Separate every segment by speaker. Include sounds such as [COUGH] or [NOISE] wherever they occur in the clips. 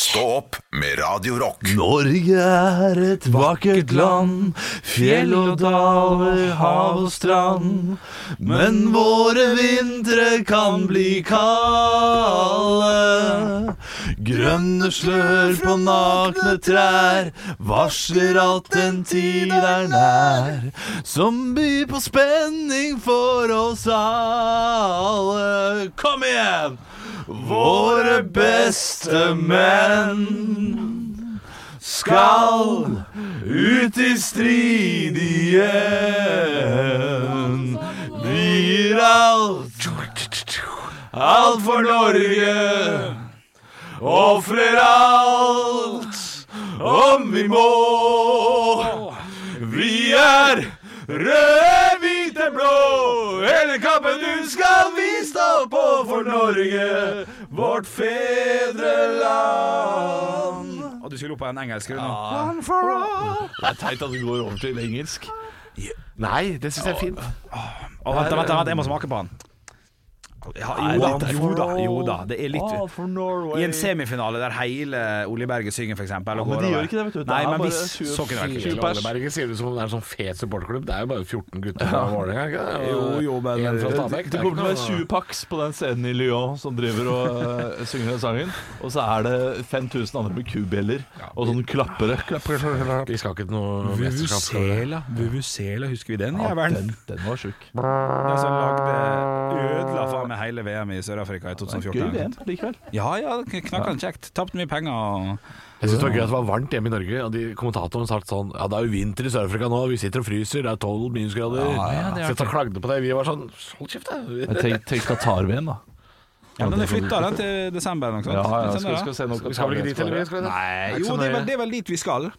Speaker 1: Stå opp med Radio Rock.
Speaker 2: Norge er et vakkert land, fjell og daler, hav og strand. Men våre vintre kan bli kalde. Grønne slør på nakne trær varsler at en tid er nær. Som byr på spenning for oss alle. Kom igjen! Våre beste menn skal ut i strid igjen. Vi gir alt, alt for Norge. Ofrer alt om vi må. Vi er røde, hvite, blå. Hele kampen du skal vi stå på for Norge, vårt fedreland.
Speaker 3: Og du skulle opp på en engelsk grunn nå.
Speaker 2: One for all. Det er teit at vi går over til engelsk.
Speaker 4: Nei, det syns jeg er fint.
Speaker 3: Å, vent, vent, vent, jeg må smake på den. Ja, jo, da, jo da, jo da. Det er
Speaker 2: All
Speaker 3: litt
Speaker 2: for Norway.
Speaker 3: I en semifinale der hele Olje Berget synger, for eksempel. og
Speaker 2: men
Speaker 3: går
Speaker 2: de gjør
Speaker 3: over.
Speaker 2: ikke det, vet du. Det
Speaker 3: Nei,
Speaker 2: er
Speaker 3: men
Speaker 2: bare
Speaker 3: hvis,
Speaker 2: 20
Speaker 3: så kunne jeg ikke
Speaker 2: Sju
Speaker 3: gjort
Speaker 2: pers.
Speaker 3: det.
Speaker 4: Bergen sier det som om det er en sånn fet supporterklubb. Det er jo bare 14 gutter fra Vålerenga. ikke det? Og
Speaker 3: Jo, jo, men-
Speaker 4: en fra
Speaker 2: eh, Det,
Speaker 4: Stabæk.
Speaker 2: det kommer til å være 20 paks på den scenen i Lyon som driver og eh, synger den sangen. Og så er det 5000 andre med kubjeller og sånn klappere.
Speaker 4: pers. Vi skal ikke til noe mesterskap. skal vi det?
Speaker 3: Vuvuzela, Vuvuzela, husker vi den
Speaker 2: Ja,
Speaker 3: jævelen?
Speaker 2: den, den var sjuk.
Speaker 3: Den som lagde ødela faen meg hele VM i Sør-Afrika i
Speaker 2: Gøy
Speaker 3: 2014.
Speaker 2: VM likevel.
Speaker 3: Ja ja, knakkende kjekt. Tapte mye penger og
Speaker 4: Jeg synes det var gøy at det var varmt hjemme i Norge, og de kommentatoren sa sånn Ja, det er jo vinter i Sør-Afrika nå, vi sitter og fryser, det er 12 minusgrader.
Speaker 3: det er
Speaker 4: Så jeg klagde på det. Vi var sånn Hold kjeft, da.
Speaker 2: Men tenk, tenk Qatar-VM, da.
Speaker 3: Ja, men den er flytta den til desember eller noe sånt. Den sender den.
Speaker 2: se noe
Speaker 4: Vi skal vel ikke dit, eller? Vi skal det.
Speaker 3: Nei,
Speaker 4: ikke
Speaker 3: jo,
Speaker 4: så
Speaker 3: det er,
Speaker 4: nøye.
Speaker 3: vel, det er vel dit vi skal.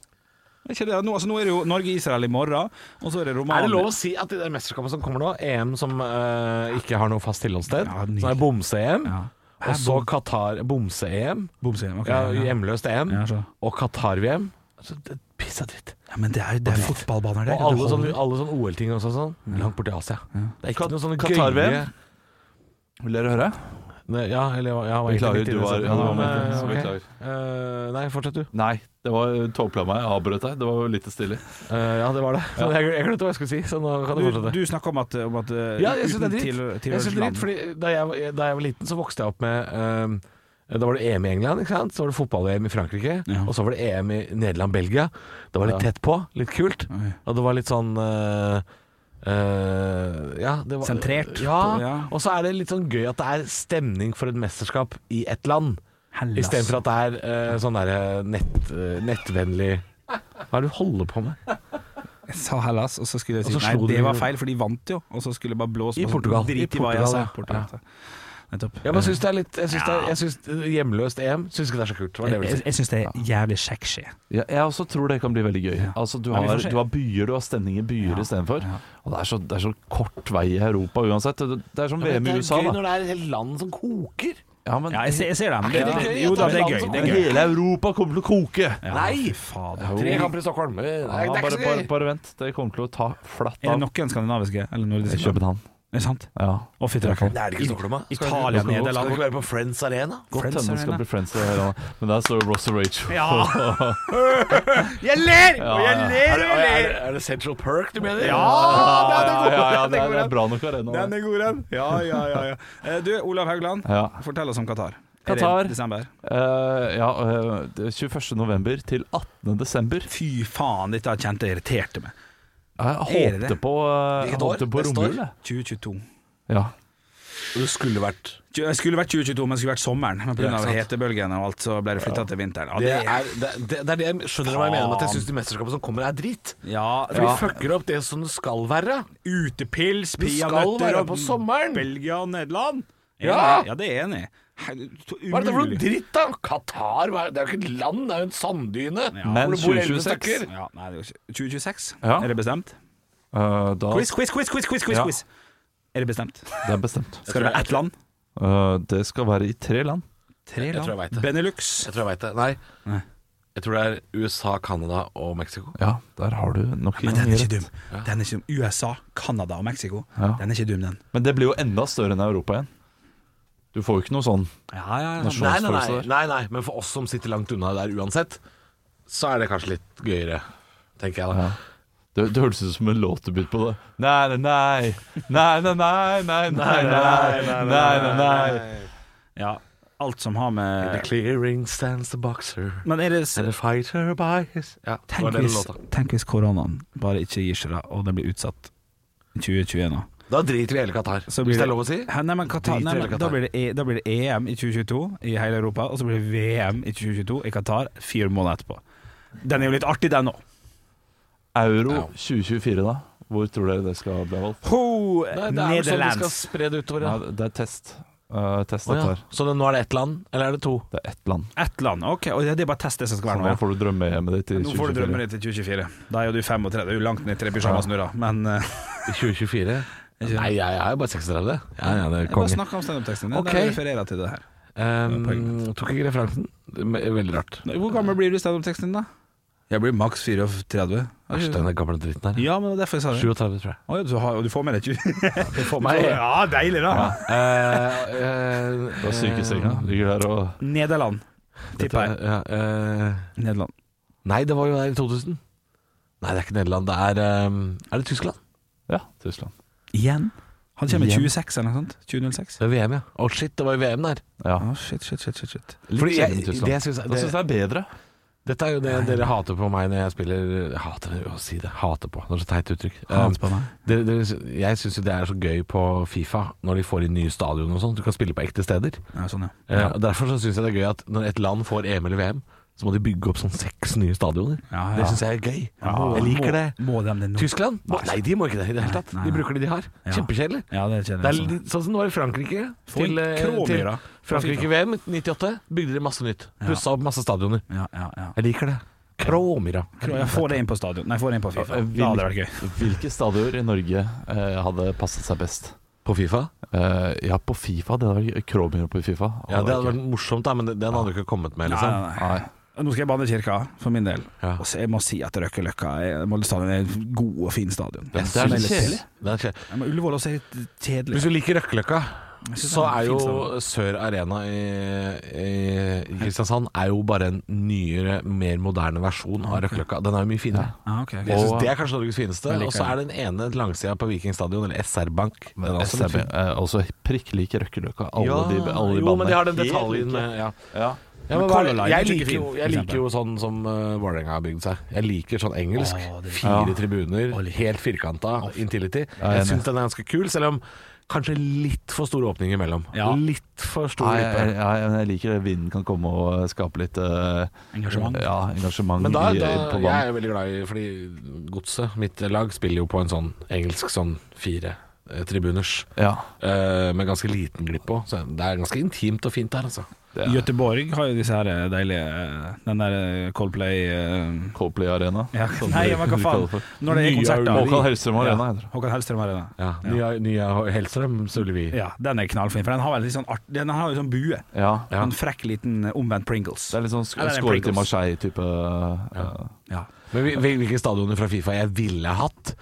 Speaker 3: Er Ikke det? Nå, altså, nå er det jo Norge-Israel i morgen, og så er det
Speaker 4: Er
Speaker 3: Romania.
Speaker 4: det lov å si at de der mesterskapene som kommer nå, EM som eh, ikke har noe fast tilholdssted,
Speaker 3: Ja, nydelig.
Speaker 4: så er det bomse-EM,
Speaker 3: Ja.
Speaker 4: og så Qatar Bomse-EM,
Speaker 3: Bomsiden, ok,
Speaker 4: ja,
Speaker 3: ja.
Speaker 4: hjemløst EM,
Speaker 3: Ja, så.
Speaker 4: og Qatar-VM. Altså, det er Piss og dritt.
Speaker 3: Ja, men det er, det er fotballbaner,
Speaker 4: Og
Speaker 3: det.
Speaker 4: alle sånne, alle sånne OL-ting også sånn. Langt borti Asia. Det er ikke noe sånne
Speaker 2: Qatar-VM?
Speaker 4: gøye-
Speaker 2: Vil dere høre?
Speaker 4: Ne- Ja, eller ja, var egentlig
Speaker 2: Beklager,
Speaker 4: midt i
Speaker 2: du
Speaker 4: det,
Speaker 2: var-
Speaker 4: så-
Speaker 2: ja, du var
Speaker 4: men,
Speaker 2: med.
Speaker 4: eh, ok.
Speaker 2: Beklager.
Speaker 4: Eh, nei, fortsett du.
Speaker 2: Nei. Det var tåpla meg. Jeg avbrøt deg. Det var jo litt stille.
Speaker 4: Eh, ja, det var det. Så Jeg, jeg glemte hva jeg skulle si, så nå kan du,
Speaker 3: Du,
Speaker 4: fortsette.
Speaker 3: du snakker om at, om at eh,
Speaker 4: ja, jeg syns det er
Speaker 3: uten
Speaker 4: dritt.
Speaker 3: tilhør-
Speaker 4: jeg synes det er dritt
Speaker 3: tilhørsland.
Speaker 4: fordi da jeg, da jeg var liten, så vokste jeg opp med eh, da var det EM i England, ikke sant? så var det fotball-EM i Frankrike.
Speaker 3: Ja.
Speaker 4: Og så var det EM i Nederland-Belgia. Det var litt tett på, litt kult.
Speaker 3: Oi.
Speaker 4: Og det var litt sånn eh, eh, ja, det var,
Speaker 3: Sentrert
Speaker 4: Ja.
Speaker 3: på- ja.
Speaker 4: Og så er det litt sånn gøy at det er stemning for et mesterskap i ett land.
Speaker 3: Hellas.
Speaker 4: Istedenfor at det er eh, sånn derre nett, eh, nettvennlig Hva er det du holder på med?
Speaker 3: Jeg sa Hellas, og så skulle jeg si
Speaker 4: Og så
Speaker 3: Nei,
Speaker 4: slo
Speaker 3: det
Speaker 4: du-
Speaker 3: var feil, for de vant jo. Og så skulle jeg bare blåse
Speaker 4: I
Speaker 3: på sånn,
Speaker 4: Portugal. I
Speaker 3: Drit i hva jeg sa.
Speaker 4: Portugal,
Speaker 3: Portugal. Nettopp.
Speaker 4: Ja, men jeg syns det er litt Jeg syns det er- jeg syns hjemløst EM Syns ikke det er så kult. Hva er det jeg vil si?
Speaker 3: syns det er jævlig sexy.
Speaker 2: Ja, jeg også tror det kan bli veldig gøy. Altså, du,
Speaker 3: vi får
Speaker 2: har,
Speaker 3: se.
Speaker 2: du har byer, du har stemning i byer istedenfor. Og det er, så, det er så kort vei i Europa uansett. Det, det er som VM i USA, da.
Speaker 4: når det er et helt land som koker.
Speaker 2: Ja, men,
Speaker 3: Ja, jeg ser, jeg ser den. Det,
Speaker 4: ikke det
Speaker 3: det,
Speaker 4: gøy?
Speaker 3: jo da,
Speaker 4: Det er
Speaker 3: det er
Speaker 4: land
Speaker 3: gøy.
Speaker 4: som-
Speaker 3: Det
Speaker 2: men
Speaker 3: er gøy.
Speaker 2: hele Europa kommer til å koke!
Speaker 3: Ja,
Speaker 4: Nei!
Speaker 3: fy faen.
Speaker 4: Tre kamper i Stockholm. Nei,
Speaker 2: Ja,
Speaker 4: det er
Speaker 2: bare,
Speaker 4: ikke så
Speaker 2: bare,
Speaker 4: gøy.
Speaker 2: bare vent. Det kommer til å ta flatt
Speaker 3: Er det
Speaker 2: av.
Speaker 3: noen skandinaviske eller nordiske?
Speaker 2: København.
Speaker 3: Er det sant?
Speaker 2: Ja.
Speaker 3: Å, fytti rakkeren.
Speaker 4: Det er det ikke i Stockholm, da. Skal-
Speaker 3: Italia,
Speaker 4: skal-
Speaker 3: Nederland.
Speaker 4: Skal ikke være på Friends Arena?
Speaker 2: Godt
Speaker 3: Friends
Speaker 2: hende det
Speaker 3: Arena.
Speaker 2: skal bli friends. det her, da. Men der står Ross og Rachel. [LAUGHS]
Speaker 3: Jeg ler!
Speaker 2: jeg
Speaker 4: Er det, er, det, er det Central Perk du mener?
Speaker 2: ja,
Speaker 3: den er god,
Speaker 2: ja, ja,
Speaker 3: den
Speaker 2: det
Speaker 3: er
Speaker 2: er, det er bra nok arena.
Speaker 3: Den
Speaker 2: det.
Speaker 3: er god, den. Ja, ja, ja. ja. Eh, Du, Olav Haugland,
Speaker 2: Ja.
Speaker 3: fortell oss om Qatar. Er det
Speaker 2: Qatar.
Speaker 3: Desember.
Speaker 2: Eh, ja, eh, det er 21. november til 18. desember.
Speaker 3: Fy faen, dette kjente jeg irriterte meg.
Speaker 2: Jeg
Speaker 3: Er det
Speaker 2: håpte
Speaker 3: det?
Speaker 2: på, eh, jeg
Speaker 4: Hvilket år?
Speaker 2: håpte på
Speaker 4: Neste år?
Speaker 2: romjul, jeg.
Speaker 3: 2022.
Speaker 2: Ja.
Speaker 4: Du skulle vært
Speaker 3: Tju- Det skulle vært 2022, men det skulle vært sommeren. Men
Speaker 4: Ja,
Speaker 3: pga.
Speaker 4: sant.
Speaker 3: hetebølgen og alt, så ble det flytta til vinteren.
Speaker 4: Det
Speaker 3: Ja, det,
Speaker 4: er det, det, det, er det jeg skjønner hva jeg mener med at jeg syns de mesterskapene som kommer, er drit.
Speaker 3: ja,
Speaker 4: For de fucker opp det som det skal være.
Speaker 3: Utepils,
Speaker 4: Vi skal
Speaker 3: peanøtter
Speaker 4: være
Speaker 3: og
Speaker 4: på sommeren.
Speaker 3: Belgia og Nederland.
Speaker 4: Ja.
Speaker 3: Enig. ja, det er jeg enig. i. Hei, så
Speaker 4: Hva er det for noe
Speaker 3: Umulig.
Speaker 4: dritt, da? Qatar hva er- det er jo ikke et land, det er jo en sanddyne.
Speaker 2: Men
Speaker 4: hvor det bor elleve
Speaker 2: 2026.
Speaker 4: stykker.
Speaker 3: Ja, nei, det er jo ikke 2026?
Speaker 2: Ja.
Speaker 3: Er det bestemt?
Speaker 2: Eh, da,
Speaker 3: Quiz, quiz, quiz, quiz, quiz, quiz,
Speaker 2: Ja.
Speaker 3: quiz. Er det bestemt?
Speaker 2: det er bestemt.
Speaker 3: Skal det være ett land?
Speaker 2: Eh, det skal være i tre land.
Speaker 3: Tre
Speaker 4: Jeg tror jeg vet det.
Speaker 3: Benelux.
Speaker 4: Jeg tror jeg veit det. Nei. Jeg tror det er USA, Canada og Mexico.
Speaker 2: Ja, der har du nok
Speaker 3: Men den er
Speaker 2: rett.
Speaker 3: ikke dum. Den er ikke dum. USA, Canada og Mexico.
Speaker 2: Ja.
Speaker 3: Den er ikke dum, den.
Speaker 2: Men det blir jo enda større enn Europa igjen. Du får jo ikke noe sånn.
Speaker 4: Nei nei nei,
Speaker 2: Nasjonalfølelse der.
Speaker 4: nei, nei, men for oss som sitter langt unna der uansett, så er det kanskje litt gøyere, tenker jeg da.
Speaker 2: Det, det hørtes ut som en låtdebut på det. Nei, nei, nei. Nei, nei, nei, nei, nei, nei, nei, nei, nei.
Speaker 3: Ja, alt som har
Speaker 4: The
Speaker 3: med
Speaker 4: clearing stands the boxer
Speaker 3: Men er det
Speaker 4: and the fighter by his Ja, det var
Speaker 3: Tenk
Speaker 4: den
Speaker 3: hvis,
Speaker 4: låta.
Speaker 3: tenk hvis koronaen bare ikke gir seg, da, og den blir utsatt i 2021. Da.
Speaker 4: Da driter vi i hele Qatar,
Speaker 3: Så blir
Speaker 4: hvis
Speaker 3: det-
Speaker 4: det er lov å si.
Speaker 3: Hæ, Nei, men Qatar,
Speaker 4: Driter
Speaker 3: nei,
Speaker 4: hele
Speaker 3: men, da,
Speaker 4: Qatar.
Speaker 3: blir det, E- da blir det EM i 2022 i hele Europa, og så blir det VM i 2022 i Qatar fire måneder etterpå. Den er jo litt artig, den òg.
Speaker 2: Euro 2024, da? Hvor tror dere det skal bli valgt?
Speaker 4: Nei, det er vel sånn vi skal
Speaker 3: Eh, Nederlands.
Speaker 4: spre det utover,
Speaker 2: Ja,
Speaker 4: ja.
Speaker 2: det er test. Eh, test
Speaker 4: Å,
Speaker 2: dette
Speaker 4: ja.
Speaker 2: her.
Speaker 4: Så det, nå er det ett land, eller er det to?
Speaker 2: Det er ett land.
Speaker 3: Ett land. Ok, og det er bare test det som skal
Speaker 2: Så
Speaker 3: være
Speaker 2: nå
Speaker 3: nå.
Speaker 2: får du drømmehjemmet ditt i
Speaker 3: Nå får
Speaker 2: 2024.
Speaker 3: du drømmen din til 2024. Da er jo du 35, du er jo langt ned i tre pysjamasene da. Men eh,
Speaker 4: 2024? Nei, jeg er jo bare 36. Ja, ja, det er
Speaker 3: jeg bare
Speaker 4: konge.
Speaker 3: snakker om standup-teksten. Det
Speaker 4: Ok.
Speaker 3: er der jeg refererer til det her.
Speaker 4: Um, tok ikke referansen. Det er Veldig rart.
Speaker 3: Hvor gammel blir du i standup-teksten din, da? Jeg blir maks 34.
Speaker 4: Æsj, denne gamle dritten her.
Speaker 3: Ja, men det er derfor jeg sa det.
Speaker 4: 37, tror jeg. Eh,
Speaker 3: Å ja, du, har, og du får med deg
Speaker 4: [LAUGHS]
Speaker 3: 20?
Speaker 4: For
Speaker 3: [LAUGHS] ja, deilig, da.
Speaker 4: eh,
Speaker 2: Du har sykesenga. Ligger der og
Speaker 3: Nederland, tipper jeg.
Speaker 4: Ja, eh,
Speaker 3: Nederland.
Speaker 4: nei, det var jo der i 2000. Nei, det er ikke Nederland. Det er eh, Er det Tyskland?
Speaker 2: Ja, Tyskland.
Speaker 3: Igjen? Han kommer i
Speaker 2: Igjen.
Speaker 3: 26 eller noe sånt? 2006?
Speaker 4: Det er VM, ja. Å shit, det var jo VM der.
Speaker 2: Ja.
Speaker 3: Å, shit, shit, shit, shit, shit.
Speaker 4: Fordi jeg,
Speaker 2: sjelden Tyskland.
Speaker 4: det jeg synes,
Speaker 2: Jeg syns
Speaker 4: det,
Speaker 2: det er bedre.
Speaker 4: dette er jo det dere hater på meg når jeg spiller Jeg hater det å si det. Hater på. Det er så teit uttrykk.
Speaker 3: Hans
Speaker 4: Eh,
Speaker 3: på meg.
Speaker 4: dere, dere, sy- jeg syns jo det er så gøy på Fifa når de får inn nye stadion og sånn. Du kan spille på ekte steder.
Speaker 3: Ja, sånn, ja.
Speaker 4: Eh, og Derfor så syns jeg det er gøy at når et land får EM eller VM, så må de bygge opp sånn seks nye stadioner.
Speaker 3: Ja, ja.
Speaker 4: Det syns jeg er gøy.
Speaker 3: Ja.
Speaker 4: jeg liker det.
Speaker 3: Må, må de det nå?
Speaker 4: Tyskland? Nei, de må ikke det i det hele tatt.
Speaker 3: Nei,
Speaker 4: De
Speaker 3: nei.
Speaker 4: bruker det de har.
Speaker 3: Ja.
Speaker 4: Kjempekjedelig.
Speaker 3: Ja, det
Speaker 4: Det
Speaker 3: kjenner
Speaker 4: er
Speaker 3: jeg. sånn.
Speaker 4: litt- sånn som det var i Frankrike.
Speaker 3: Få en
Speaker 4: Til, eh,
Speaker 3: kråmyra.
Speaker 4: til
Speaker 3: På
Speaker 4: Frankrike-VM 98 bygde de masse nytt. Pussa opp masse stadioner.
Speaker 3: Ja, ja, ja.
Speaker 4: Jeg liker det. Kråmyra.
Speaker 3: Tror jeg får det inn på stadion. Nei, får det inn på Fifa.
Speaker 2: Hvil-
Speaker 3: Da hadde det vært gøy.
Speaker 2: Hvilke stadioner i Norge eh, hadde passet seg best?
Speaker 4: På Fifa?
Speaker 2: Eh, ja, på Fifa. Det hadde vært Kromir på Fifa.
Speaker 4: Ja, Det hadde vært morsomt, da, men det- den hadde jo ikke kommet med.
Speaker 3: Nei,
Speaker 4: liksom
Speaker 3: nei, nei.
Speaker 2: Nei.
Speaker 3: Nå skal jeg banne kirka, for min del.
Speaker 4: Ja.
Speaker 3: Og så jeg må si at Røkkeløkka er- Molde stadion er en god og fin stadion.
Speaker 4: Jeg
Speaker 2: Det er
Speaker 4: syns-
Speaker 2: litt kjedelig.
Speaker 4: Det er kjedelig.
Speaker 3: Ja, Men Ullevål også er litt
Speaker 4: Hvis
Speaker 3: kjedelig.
Speaker 4: du liker Røkkeløkka,
Speaker 3: synes det er
Speaker 4: så er
Speaker 3: en fin stadion.
Speaker 4: jo Sør Arena i, i Kristiansand Er jo bare en nyere, mer moderne versjon av Røkkeløkka. Den er jo mye finere.
Speaker 3: Ah, ok, ok.
Speaker 4: Jeg synes Det er kanskje Norges fineste.
Speaker 3: liker
Speaker 4: Og så er den ene langsida på Viking stadion, eller SR Bank. Den er også litt
Speaker 2: SRB,
Speaker 4: fin.
Speaker 2: eh, også prikk lik Røkkeløkka. Alle
Speaker 4: Ja,
Speaker 2: de, alle de
Speaker 4: jo, men de har den
Speaker 2: bandene. Helt
Speaker 4: detaljen eh,
Speaker 2: like.
Speaker 4: med ja.
Speaker 2: Ja.
Speaker 4: Ja, men
Speaker 3: Men
Speaker 4: hva-
Speaker 3: Color Line
Speaker 4: jeg,
Speaker 3: er ikke
Speaker 4: liker jo,
Speaker 3: fin,
Speaker 4: jeg
Speaker 3: for
Speaker 4: liker jo sånn som uh, Vålerenga har bygd seg. Jeg liker sånn engelsk.
Speaker 3: Å, det er
Speaker 4: Fire
Speaker 2: fint.
Speaker 4: tribuner, helt firkanta, intility.
Speaker 2: Ja, jeg er
Speaker 4: Jeg syns den er ganske kul, selv om kanskje litt for stor åpning imellom.
Speaker 3: Ja.
Speaker 4: Litt for stor
Speaker 2: Nei, jeg,
Speaker 4: gruppe.
Speaker 2: jeg, jeg, men jeg liker det. Vinden kan komme og eh, skape litt eh,
Speaker 3: Engasjement.
Speaker 2: Ja, engasjement
Speaker 4: Men da,
Speaker 2: i,
Speaker 4: da
Speaker 2: på
Speaker 4: Jeg
Speaker 2: banen.
Speaker 4: er jo veldig glad i Fordi Godset, mitt lag, spiller jo på en sånn engelsk sånn fire eh, tribuners.
Speaker 2: Ja,
Speaker 4: eh, med ganske liten glipp på. Så det er ganske intimt og fint der, altså.
Speaker 2: det er
Speaker 3: Göteborg har jo disse her eh, deilige eh, Den der eh, Coldplay eh,
Speaker 2: Coldplay Arena.
Speaker 3: ja,
Speaker 2: som
Speaker 3: Nei,
Speaker 2: de-
Speaker 3: men hva
Speaker 2: de
Speaker 3: faen.
Speaker 2: kaller det for.
Speaker 3: Når det er konsert, da.
Speaker 2: Håkan Hellstrøm Arena
Speaker 3: Ja,
Speaker 2: heter det.
Speaker 3: Håkan Hellstrøm Arena.
Speaker 4: Ja, Nye, nye Hellstrøm, Solvi.
Speaker 3: Ja, den er knallfin, for den har, vel litt sånn art, den har jo sånn bue.
Speaker 2: Ja.
Speaker 4: Ja.
Speaker 3: En frekk liten eh, omvendt Pringles.
Speaker 2: Det er litt sånn sk
Speaker 3: Ja, det er en
Speaker 2: skåret i
Speaker 3: Pringles.
Speaker 2: Marseille-type eh,
Speaker 3: Ja.
Speaker 4: Men hvil- hvil- hvilke stadioner fra Fifa jeg ville hatt,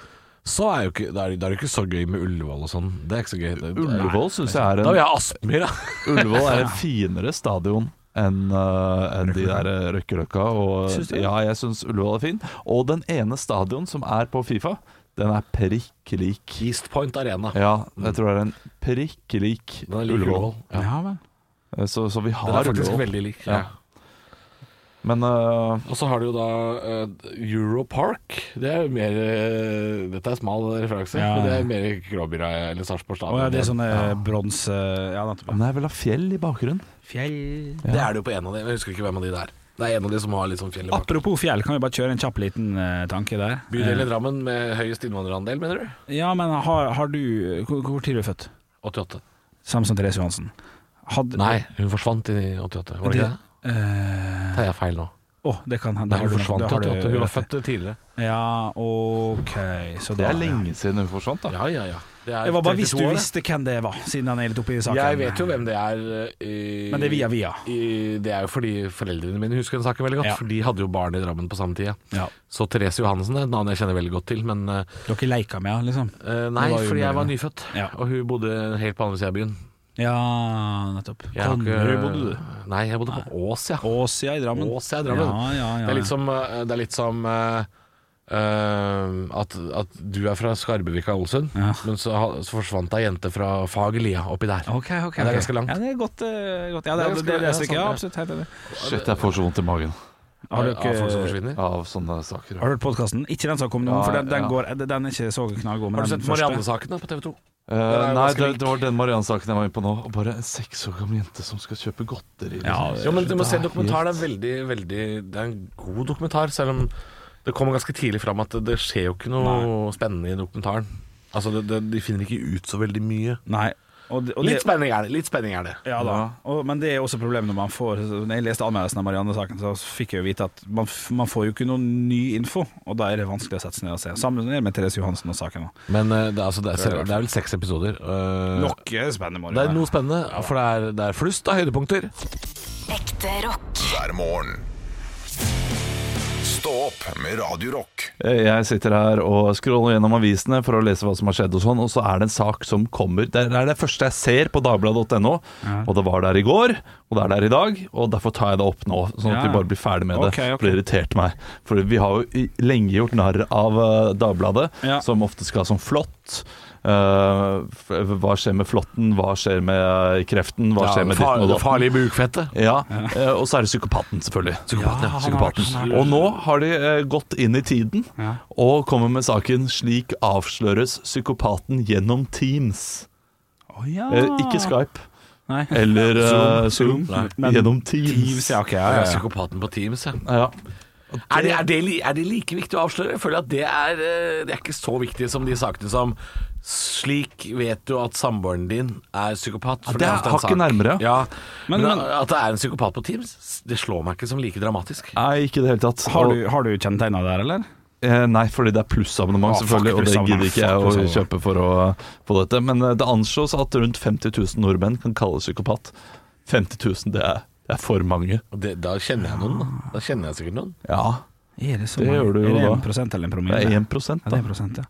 Speaker 4: så er jo ikke Da er det da er det ikke så gøy med Ullevål og sånn. Det er ikke så gøy. Det-
Speaker 2: Ullevål syns jeg er
Speaker 4: Nei.
Speaker 2: en
Speaker 4: Da vil jeg ha Aspmyra!
Speaker 2: Ullevål er en finere stadion enn eh, enn de der eh, Røkkeløkka.
Speaker 3: Syns
Speaker 2: Og,
Speaker 3: du?
Speaker 2: ja, jeg syns Ullevål er fin. Og den ene stadion som er på Fifa, den er prikk lik.
Speaker 4: East Point Arena.
Speaker 2: Ja,
Speaker 3: Mm.
Speaker 2: jeg tror det er en prikk lik
Speaker 4: Den er lik
Speaker 2: Ullevål.
Speaker 4: Ullevål. Ja.
Speaker 3: Ja, vel.
Speaker 2: Eh, Så, så vi
Speaker 4: Den er
Speaker 2: har
Speaker 4: faktisk
Speaker 2: Ullevål.
Speaker 4: veldig lik.
Speaker 2: Ja.
Speaker 4: Ja.
Speaker 2: Men eh,
Speaker 4: Og så har du jo da eh, Europark. Det er jo mer eh, Dette er smal referanse,
Speaker 3: Ja.
Speaker 4: men det er mer Gråbyra eller Sarpsborg
Speaker 3: Å
Speaker 4: stadion.
Speaker 3: ja, det er sånne bronse Ja, nettopp.
Speaker 2: men jeg vil ha fjell i bakgrunnen.
Speaker 3: Fjell
Speaker 4: Det er det jo på en av de, men jeg husker ikke hvem av de det er. Det er en av de som har litt sånn fjell i bak.
Speaker 3: Apropos fjell, kan vi bare kjøre en kjapp liten eh, tanke der?
Speaker 4: Bydel i Drammen med høyest innvandrerandel, mener du?
Speaker 3: Eh, ja, men har, har du Hvor, hvor tid er du født?
Speaker 4: 88.
Speaker 3: Samme som Therese Johansen. Hadde-
Speaker 4: Nei, hun forsvant i 88, var det ikke det?
Speaker 3: Eh,
Speaker 4: Tar jeg feil nå?
Speaker 3: Å, det kan hende.
Speaker 4: Nei, hun forsvant i
Speaker 3: Da har du-
Speaker 4: 88. Hun var født tidligere.
Speaker 3: Ja, ok. Så
Speaker 2: Det
Speaker 3: da-
Speaker 2: er lenge siden hun forsvant, da.
Speaker 4: Ja, ja, ja. Det er
Speaker 3: Det var bare hvis
Speaker 4: 32
Speaker 3: du
Speaker 4: år, det.
Speaker 3: visste hvem det var, siden han er litt oppe i saken.
Speaker 4: Jeg vet jo hvem det er. eh, i-
Speaker 3: Men det er via via.
Speaker 4: I, det er jo fordi foreldrene mine husker den saken veldig godt,
Speaker 3: Ja.
Speaker 4: for de hadde jo barn i Drammen på samme tid.
Speaker 3: Ja.
Speaker 4: Så Therese Johansen er et navn jeg kjenner veldig godt til, men eh,
Speaker 3: Dere leika med han, liksom?
Speaker 4: eh, nei,
Speaker 3: Det var jo
Speaker 4: fordi jeg var
Speaker 3: mer-
Speaker 4: nyfødt,
Speaker 3: Ja.
Speaker 4: og hun bodde helt på andre sida av byen.
Speaker 3: Ja, nettopp.
Speaker 4: Jeg har ikke-
Speaker 3: Konnerud bodde du?
Speaker 4: Nei, jeg bodde på Ås, ja.
Speaker 3: Ås, ja, i Drammen.
Speaker 4: Ås, ja, i Drammen.
Speaker 3: Ja, ja, ja.
Speaker 4: Det er litt som, eh, det er litt som eh, eh, at, at du er fra Skarbevika og Ålesund,
Speaker 3: Ja.
Speaker 4: men så, ha- så forsvant ei jente fra Fagerlia oppi der.
Speaker 3: Ok, ok,
Speaker 4: Ja, det er
Speaker 3: ok.
Speaker 4: ganske langt.
Speaker 3: Ja, det er godt. eh, godt. Ja, det, det,
Speaker 4: Det er
Speaker 3: det,
Speaker 4: ganske-
Speaker 3: det,
Speaker 4: ja,
Speaker 3: leser jeg ikke. ja,
Speaker 4: sant,
Speaker 3: absolutt. Helt enig.
Speaker 2: Shit, jeg får så vondt i magen
Speaker 3: Har du
Speaker 4: Eh, av folk som
Speaker 3: ikke
Speaker 4: forsvinner.
Speaker 2: av sånne saker.
Speaker 3: har du hørt podkasten? Ikke den som kom nå,
Speaker 2: Ja,
Speaker 3: for den, den,
Speaker 2: ja.
Speaker 3: går, den er ikke så knallgod. men
Speaker 4: Har du
Speaker 3: den
Speaker 4: sett
Speaker 3: første-
Speaker 4: Marianne-saken da på TV 2?
Speaker 2: Eh,
Speaker 4: er
Speaker 2: nei,
Speaker 4: jo ganske
Speaker 2: det,
Speaker 4: lik.
Speaker 2: det var den Marianne-saken jeg var inne på nå. Og bare en seks år gammel jente som skal kjøpe godteri.
Speaker 3: Ja,
Speaker 4: Ja, men du må se
Speaker 2: Det er
Speaker 4: dokumentar. Det
Speaker 2: helt-
Speaker 4: er veldig, veldig Det er en god dokumentar, selv om det kommer ganske tidlig fram at det, det skjer jo ikke noe spennende i dokumentaren. Altså, det, det, De finner ikke ut så veldig mye.
Speaker 3: Nei. Og, det- og det-
Speaker 4: Litt spenning er det. litt spenning er det
Speaker 3: Ja da, og, men det er jo også problemet når man får Når jeg leste anmeldelsen av Marianne-saken, så fikk jeg jo vite at man, f- man får jo ikke noen ny info, og da er det vanskelig å sette seg ned og se. Sammen med Therese Johansen og saken. da.
Speaker 4: Men eh, det, altså, det, er, selv- det er vel seks episoder. eh,
Speaker 3: Nok spennende,
Speaker 4: Det
Speaker 3: Marianne.
Speaker 4: er noe spennende, for det er, det er flust av høydepunkter.
Speaker 5: Ekte rock.
Speaker 1: hver morgen. Stå opp med Radio Rock.
Speaker 2: Eh, Jeg sitter her og scroller gjennom avisene for å lese hva som har skjedd, og sånn, og så er det en sak som kommer. Det er det første jeg ser på dagbladet.no, og det var der i går, og det er der i dag, og derfor tar jeg det opp nå, sånn at
Speaker 3: Ja.
Speaker 2: vi bare blir ferdig med
Speaker 3: Ok,
Speaker 2: det.
Speaker 3: ok.
Speaker 2: For det irriterte meg. For vi har jo i- lenge gjort narr av eh, Dagbladet,
Speaker 3: Ja.
Speaker 2: som ofte skal ha sånn flått. Eh, f- hva skjer med flåtten, hva skjer med eh, kreften, hva skjer med
Speaker 4: Ja,
Speaker 2: ditten og
Speaker 4: det
Speaker 2: datten?
Speaker 4: farlige bukfettet.
Speaker 2: Ja, eh, og så er det psykopaten, selvfølgelig.
Speaker 4: Psykopaten, ja.
Speaker 2: Ja,
Speaker 4: han har vært-
Speaker 2: psykopaten. Og nå har de eh, gått inn i tiden
Speaker 3: Ja.
Speaker 2: og kommer med saken 'Slik avsløres psykopaten gjennom Teams'.
Speaker 3: Å, ja.
Speaker 2: Eh, ikke Skype
Speaker 3: Nei.
Speaker 2: eller eh, Zoom,
Speaker 3: Zoom. Nei. Men
Speaker 2: gjennom Teams.
Speaker 3: Teams, ja, ok, ja,
Speaker 4: Ja,
Speaker 3: ja, ja.
Speaker 4: psykopaten på Teams, ja.
Speaker 2: Ja.
Speaker 4: Er det, er, det, li- er det like viktig å avsløre? Jeg føler at det er, eh, det er ikke så viktig som de sakene som Slik vet du at samboeren din er psykopat. for
Speaker 2: det er
Speaker 4: ofte en
Speaker 2: hakket
Speaker 4: sak.
Speaker 2: nærmere,
Speaker 4: Ja. Men,
Speaker 3: Men- men-
Speaker 4: at det er en psykopat på Teams, det slår meg ikke som like dramatisk.
Speaker 2: Nei, ikke i det hele tatt.
Speaker 3: Har du,
Speaker 2: Og,
Speaker 3: har du kjennetegna der, eller?
Speaker 2: eh, nei, fordi det er plussabonnement,
Speaker 3: Å, Ah, fuck,
Speaker 2: selvfølgelig, og det
Speaker 3: plussabonnement,
Speaker 2: gidder ikke jeg
Speaker 3: fuck,
Speaker 2: å
Speaker 3: plussabonnement.
Speaker 2: kjøpe for å få dette. Men eh, det anslås at rundt 50 000 nordmenn kan kalles psykopat. 50 000, det er, det er for mange.
Speaker 4: Og det, da kjenner jeg noen, da. Da kjenner jeg sikkert noen.
Speaker 2: Ja,
Speaker 3: Er det, så
Speaker 2: Det
Speaker 3: mange?
Speaker 2: gjør du jo
Speaker 3: er det
Speaker 2: da.
Speaker 3: 1 eller en promille?
Speaker 2: det er
Speaker 3: Ja,
Speaker 2: 1
Speaker 3: det
Speaker 2: da.
Speaker 3: er prosent, ja.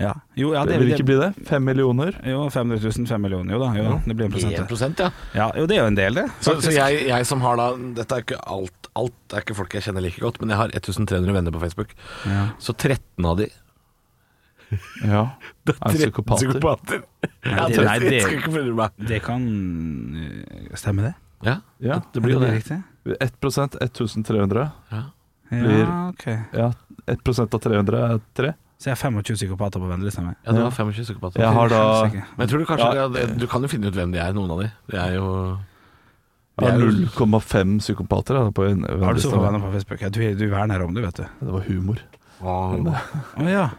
Speaker 3: ja. Jo, ja,
Speaker 2: Det
Speaker 3: det,
Speaker 2: vil ikke bli det. Fem millioner.
Speaker 3: Jo, 500 000, 5 millioner. Jo da, jo, da, det blir en prosent.
Speaker 4: 1 ja.
Speaker 3: Ja. Ja, jo, det er jo en del, det.
Speaker 4: Så,
Speaker 3: faktisk.
Speaker 4: så jeg, jeg som har da Dette er ikke alt, alt er ikke folk jeg kjenner like godt, men jeg har 1300 venner på Facebook.
Speaker 3: Ja.
Speaker 4: Så 13 av de
Speaker 2: Ja. Er
Speaker 4: 13
Speaker 2: psykopater.
Speaker 4: psykopater. Ja,
Speaker 3: det- nei,
Speaker 4: det
Speaker 3: det-
Speaker 4: skal ikke forundre meg.
Speaker 3: Det kan Stemmer det?
Speaker 4: Ja,
Speaker 2: Ja,
Speaker 4: det blir jo
Speaker 3: Er
Speaker 4: det.
Speaker 3: riktig.
Speaker 2: 1 1300.
Speaker 3: Ja,
Speaker 2: Blir-
Speaker 3: ok.
Speaker 2: Ja, 1 av 300 er 3.
Speaker 3: Så jeg har 25 psykopater på ventelista mi.
Speaker 4: Ja, du har 25 psykopater.
Speaker 2: Jeg har da
Speaker 3: Helsike.
Speaker 4: Men jeg tror du kanskje
Speaker 2: Ja.
Speaker 4: det er- Du kan jo finne ut hvem de er, noen av de. Det er jo
Speaker 2: jeg har 0,5 psykopater. Da, på en,
Speaker 3: Har du sofavenner på Facebook? Ja, du, du verner om det, vet du.
Speaker 2: Det var humor.
Speaker 3: Å ja.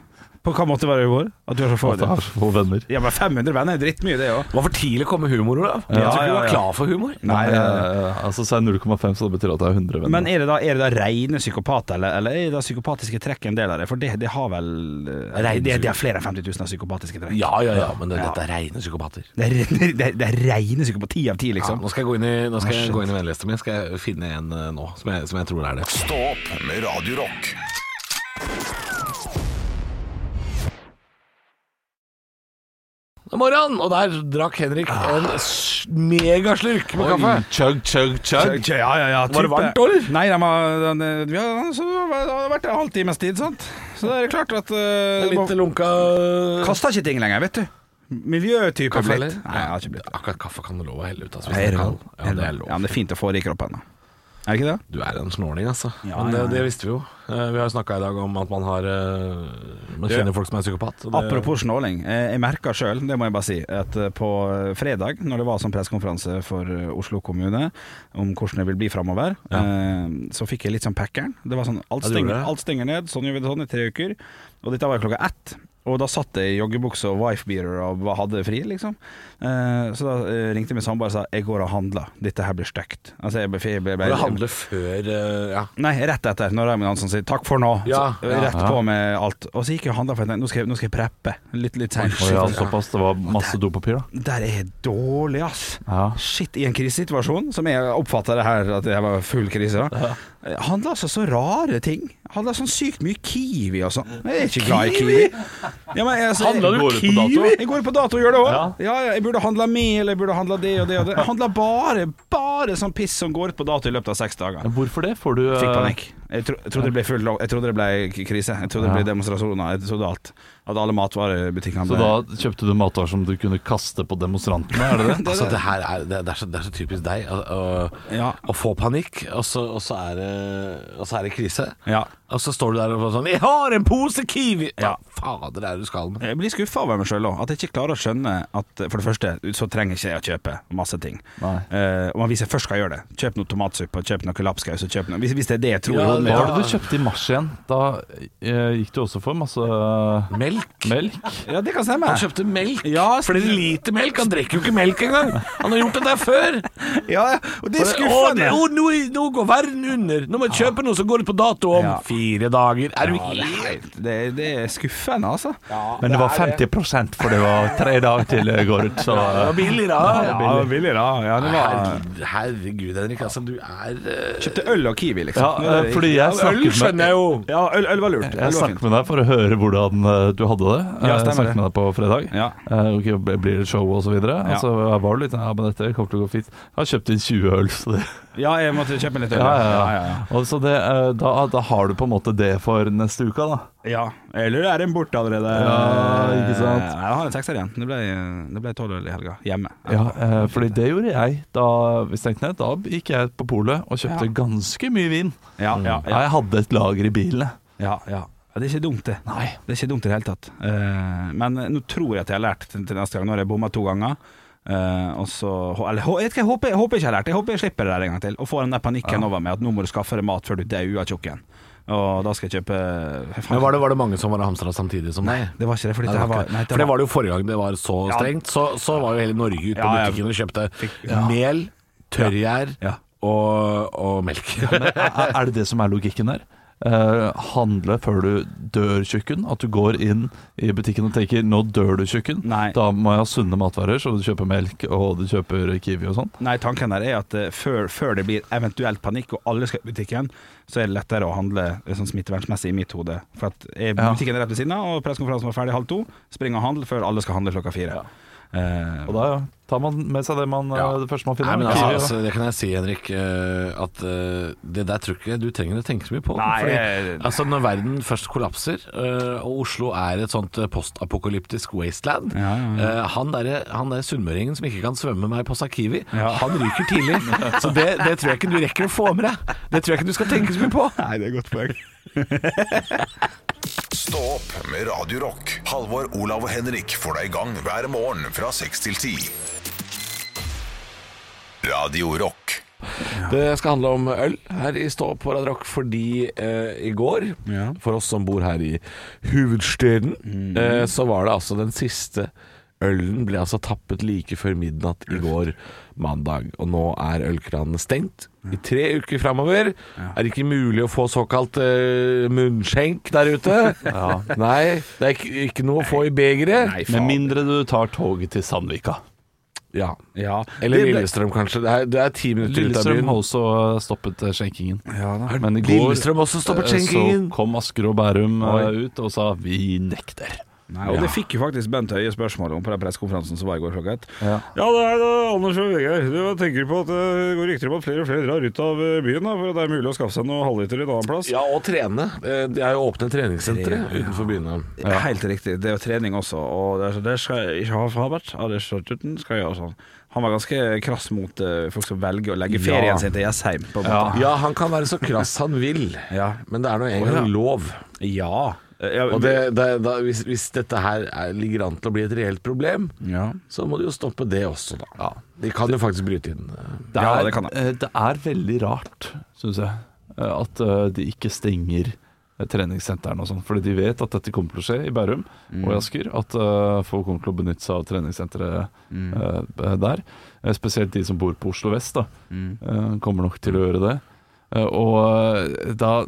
Speaker 3: På hva måte var det i går? At du har så få
Speaker 2: At jeg
Speaker 3: venner?
Speaker 2: har så få venner.
Speaker 3: Ja, men 500 venner er drittmye, det òg.
Speaker 4: Det var for tidlig å komme med humor, Olav. Jeg
Speaker 2: Ja,
Speaker 4: tror ikke du
Speaker 2: ja,
Speaker 4: var
Speaker 2: ja.
Speaker 4: klar for humor.
Speaker 2: Nei, eh, altså så er det 0,5, så det betyr at jeg har 100 venner.
Speaker 3: Men er det da, er det da reine psykopater, eller, eller er det da psykopatiske trekk en del av det? For det, det har vel eh,
Speaker 4: Reine
Speaker 3: det, det er flere enn 50 000 av psykopatiske trekk.
Speaker 4: Ja, ja, ja, men det, dette er reine psykopater.
Speaker 3: Det er, det, er, det er reine psykopati av ti,
Speaker 4: Ja,
Speaker 3: liksom.
Speaker 4: nå skal jeg gå inn i, nå skal jeg gå inn i vennelista mi. Skal jeg finne en eh, nå som jeg, som jeg tror er det.
Speaker 1: Stå opp med Radio Rock.
Speaker 4: Det er morgen, og der drakk Henrik en
Speaker 3: Ah.
Speaker 4: s- megaslurk med kaffe.
Speaker 2: Oi, chug, chug, chug.
Speaker 3: Ja, ja, ja,
Speaker 4: Var det
Speaker 3: type-
Speaker 4: varmt, eller?
Speaker 3: Nei, de har, den, eh, vi har- så det har vært en halvtimes tid, sant. Så det er klart at eh,
Speaker 4: En Litt lunka
Speaker 3: Kaster ikke ting lenger, vet du. Miljøtype
Speaker 4: Kaffe,
Speaker 3: blitt.
Speaker 4: eller?
Speaker 3: Nei, jeg har ikke blitt det.
Speaker 4: Akkurat kaffe kan du love å helle ut. Altså, hvis
Speaker 3: Nei,
Speaker 4: den
Speaker 3: er det
Speaker 4: er
Speaker 3: lov?
Speaker 4: kald. Ja, det er lov.
Speaker 3: Ja, men det er fint å få det i kroppen. da. Er det ikke det?
Speaker 4: Du er en snorning, altså.
Speaker 3: Ja,
Speaker 4: men det,
Speaker 3: ja, ja.
Speaker 4: det visste vi jo. Eh, Vi har jo snakka i dag om at man har eh, Man kjenner folk som er psykopat. og Det,
Speaker 3: Apropos snåling. eh, Jeg merka sjøl, det må jeg bare si, at eh, på eh, fredag, når det var sånn pressekonferanse for eh, Oslo kommune om hvordan det vil bli framover, eh, så fikk jeg litt sånn packeren. Det var sånn alt
Speaker 4: Ja, du gjorde
Speaker 3: stenger,
Speaker 4: det.
Speaker 3: alt stenger ned, sånn gjør vi det sånn i tre uker. Og dette var jo klokka ett. Og da satt jeg i joggebukse og wifebeater og ba- hadde fri, liksom. Eh, så da eh, ringte min samboer og sa jeg går og handler, dette her blir stygt. Altså, jeg ble, jeg ble,
Speaker 4: For det handler før eh, ja.
Speaker 3: Nei, rett etter, når Raymond Hansen sier 'takk for nå'.
Speaker 4: Ja,
Speaker 3: så,
Speaker 4: ja.
Speaker 3: rett på med alt. Og så gikk jeg og handla, for jeg tenkte nå skal jeg, nå skal jeg preppe. Litt, litt seint.
Speaker 2: Å ja, såpass. Det var masse dopapir, da.
Speaker 3: Der er jeg dårlig, ass.
Speaker 2: Ja.
Speaker 3: Shit, i en krisesituasjon, som jeg oppfatta det her at jeg var full krise, da. Handla altså så rare ting. Handla sånn sykt mye Kiwi og sånn. Jeg er ikke glad i Kiwi. Ja, men jeg- altså,
Speaker 2: Handlet du
Speaker 3: jeg- går
Speaker 2: Kiwi?
Speaker 3: på dato? Jeg går på dato og gjør det òg.
Speaker 2: Ja.
Speaker 3: Ja. Ja, jeg burde handla mel, jeg burde handla det og det og det. Jeg handla bare, bare sånn piss som går ut på dato i løpet av seks dager.
Speaker 2: Hvorfor det? Får du eh,
Speaker 3: Fikk panikk. Jeg, tro, jeg trodde det ble full lov- Jeg trodde det ble k- krise. Jeg trodde det ble
Speaker 2: Ja.
Speaker 3: demonstrasjoner. Jeg trodde alt. At alle
Speaker 2: Så
Speaker 3: matvarebutikkene ble
Speaker 2: da kjøpte du matvarer som du kunne kaste på demonstrantene, er det
Speaker 3: [LAUGHS]
Speaker 2: det?
Speaker 4: Altså, det, her er, det, det, er så, det er så typisk deg å, å,
Speaker 3: Ja.
Speaker 4: å få panikk, og så, og, så er det, og så er det krise.
Speaker 3: Ja.
Speaker 4: Og så står du der og får sånn 'Jeg har en pose Kiwi!' Hva
Speaker 3: Ja.
Speaker 4: fader er det du skal med?
Speaker 3: Jeg blir skuffa over meg sjøl òg. At jeg ikke klarer å skjønne at For det første så trenger ikke jeg å kjøpe masse ting.
Speaker 2: Nei.
Speaker 3: Eh, og hvis jeg først skal gjøre det, kjøp noe tomatsuppe, kjøp noe lapskaus og kjøp noe hvis, hvis det er det jeg tror i
Speaker 4: Ja,
Speaker 3: hodet
Speaker 2: Hva
Speaker 3: mitt.
Speaker 2: var det du kjøpte i mars igjen? Da eh, gikk du også for masse eh,
Speaker 4: Melk?
Speaker 2: melk.
Speaker 3: Ja, det kan stemme.
Speaker 4: Han kjøpte melk.
Speaker 3: Ja,
Speaker 4: Flere liter melk. Han drikker jo ikke melk engang. Han har gjort det der før.
Speaker 3: Ja, ja, og det er
Speaker 4: Å, det-
Speaker 3: skuffende.
Speaker 4: å, nå, nå går verden under. Nå må jeg kjøpe noe som går ut på dato om
Speaker 3: Ja.
Speaker 4: fire dager. Er du
Speaker 3: Ja, det, er
Speaker 4: helt
Speaker 3: helt- det, er- det er skuffende, altså.
Speaker 2: Men det var 50 for det var tre dager til det går ut, så
Speaker 4: Det var billig, da.
Speaker 3: det var billig, da. Ja, det var
Speaker 4: Herregud, herregud, Henrik. Altså, du er eh,
Speaker 3: Kjøpte øl og Kiwi, liksom.
Speaker 2: Ja, eh, fordi jeg
Speaker 4: Øl
Speaker 2: snakket med
Speaker 4: skjønner jeg jo.
Speaker 3: Ja, øl, øl var lurt. Øl var
Speaker 2: Jeg
Speaker 3: fint.
Speaker 2: snakket med deg for å høre hvordan eh, du hadde det. Eh,
Speaker 3: Ja,
Speaker 2: Jeg
Speaker 3: stemmer det.
Speaker 2: snakket med deg på fredag.
Speaker 3: Ja.
Speaker 2: Eh, ok, b- blir det show og så videre? Og så var du litt Ja, men dette kommer til å gå fint. Jeg har kjøpt inn 20 øl, så det
Speaker 3: Ja, jeg måtte kjøpe litt øl.
Speaker 2: Ja, ja, ja. Og så det, eh, da, da har du på en måte det for neste uke, da.
Speaker 3: ja. Eller er den borte allerede?
Speaker 2: Ja, ikke sant?
Speaker 3: Eh, Jeg har en sekser igjen. Det ble, det ble tolv øl i helga. Hjemme.
Speaker 2: Ja, eh, fordi det gjorde jeg. Da vi stengte ned, da gikk jeg på polet og kjøpte
Speaker 3: Ja.
Speaker 2: ganske mye vin.
Speaker 3: Ja, ja, ja,
Speaker 2: Jeg hadde et lager i bilen. jeg.
Speaker 3: ja, ja. Ja, Det er ikke dumt, det.
Speaker 2: Nei.
Speaker 3: Det er ikke dumt i det hele tatt. Eh, men nå tror jeg at jeg har lært til, til neste gang. Nå har jeg bomma to ganger. Eh, og så, eller, hå- jeg, jeg, håper, jeg håper ikke jeg har lært. Jeg håper jeg slipper det der en gang til. Og får den der panikken over meg at nå må du skaffe deg mat før du dauer av tjukken. Og da skal jeg kjøpe
Speaker 4: Men var det, var det mange som var hamstra samtidig som deg?
Speaker 3: Det var ikke det, for
Speaker 4: Nei,
Speaker 3: dette
Speaker 4: det
Speaker 3: her
Speaker 4: var
Speaker 3: var
Speaker 4: ikke-
Speaker 3: nei,
Speaker 4: For det var det jo forrige gang det var så
Speaker 3: Ja.
Speaker 4: strengt. Så, så var jo hele Norge ute på
Speaker 3: Ja, ja.
Speaker 4: butikken og kjøpte
Speaker 3: Ja.
Speaker 4: mel, tørrgjær
Speaker 3: Ja.
Speaker 4: og, og melk.
Speaker 2: Er er det det som er logikken her? Eh, handle før du dør, tjukken. At du går inn i butikken og tenker 'nå dør du, tjukken'.
Speaker 3: Nei.
Speaker 2: Da må jeg ha sunne matvarer, så du kjøper melk og du kjøper Kiwi og sånn.
Speaker 3: Nei, tanken der er at eh, før, før det blir eventuelt panikk og alle skal i butikken, så er det lettere å handle eh, sånn smittevernmessig i mitt hode. For at eh,
Speaker 2: Ja.
Speaker 3: butikken er rett ved siden av, og pressekonferansen var ferdig halv to. Spring og handle før alle skal handle klokka fire. Eh,
Speaker 2: Og da tar man med seg det, man, eh,
Speaker 4: Ja.
Speaker 2: det første man finner.
Speaker 4: Nei, men altså,
Speaker 2: Kiwi, da.
Speaker 4: altså, det kan jeg si, Henrik, eh, at eh, det der tror ikke du trenger å tenke så mye på.
Speaker 3: Nei, eh,
Speaker 4: fordi,
Speaker 3: jeg-
Speaker 4: [LAUGHS] altså, når verden først kollapser, eh, og Oslo er et sånt eh, postapokalyptisk wasteland eh, Han derre han der sunnmøringen som ikke kan svømme meg på Sakiwi,
Speaker 3: Ja.
Speaker 4: han ryker
Speaker 3: [LAUGHS]
Speaker 4: tidlig. Så det, det tror jeg ikke du rekker å få med deg. Det tror jeg ikke du skal tenke så mye på.
Speaker 3: Nei, det er et godt poeng.
Speaker 1: Stå opp med Radio Rock. Halvor, Olav og Henrik får deg i gang hver morgen fra 6 til 10. Radio Rock.
Speaker 4: Det skal handle om øl her i Stå opp på Radio Rock, fordi eh, i går,
Speaker 3: Ja.
Speaker 4: for oss som bor her i hovedstaden, eh, så var det altså den siste Ølen ble altså tappet like før midnatt i går mandag, og nå er ølkranene stengt. I tre uker framover er det ikke mulig å få såkalt eh, munnskjenk der ute. Nei, det er ikke, ikke noe å få i begeret.
Speaker 2: Med mindre du tar toget til Sandvika.
Speaker 4: Ja.
Speaker 3: Ja,
Speaker 4: Eller
Speaker 3: det ble-
Speaker 4: Lillestrøm, kanskje. Det er, det er ti minutter ut av
Speaker 2: Lillestrøm
Speaker 4: byen.
Speaker 2: har også eh, stoppet eh, skjenkingen.
Speaker 3: Ja da.
Speaker 2: Men i går
Speaker 4: Lillestrøm også stoppet
Speaker 2: eh,
Speaker 4: skjenkingen.
Speaker 2: Så kom Asker og Bærum eh, ut og sa 'vi nekter'.
Speaker 3: Nei, og det fikk jo faktisk Bent Høie spørsmål om på den pressekonferansen som var i går klokka ett.
Speaker 2: Ja.
Speaker 3: det er det, Anders og Vegard. Hva tenker på at det går rykter om at flere og flere drar ut av eh, byen, for at det er mulig å skaffe seg noen halvliter en annen plass?
Speaker 4: Ja, og trene. Eh, De er jo åpne treningssentre utenfor byene.
Speaker 3: Helt riktig. Det er jo trening også, og det, er så- det skal jeg ikke ha for Habert. Ja, det skal Tutten skal gjøre sånn. Han var ganske krass mot eh, folk som velger å legge ferien sin til Jessheim, på en måte.
Speaker 4: Ja, han kan være så krass han vil,
Speaker 3: Ja.
Speaker 4: men det er nå engang lov.
Speaker 3: Ja. Eh, ja,
Speaker 4: Og det, det, da, hvis, hvis dette her er, ligger an til å bli et reelt problem,
Speaker 3: Ja.
Speaker 4: så må de jo stoppe det også, da. De kan jo faktisk bryte inn.
Speaker 2: Det er,
Speaker 3: Ja,
Speaker 2: det,
Speaker 3: det kan jeg.
Speaker 2: det er veldig rart, syns jeg, eh, at eh, de ikke eh, stenger eh, treningssentrene og sånn. Fordi de vet at dette kommer til å skje i Bærum
Speaker 4: Mm.
Speaker 2: og i Asker. At eh, folk kommer til å benytte seg av treningssenteret
Speaker 4: Mm.
Speaker 2: eh, der. Eh, Spesielt de som bor på Oslo vest, da. eh, kommer nok til å gjøre det. Eh, og eh, da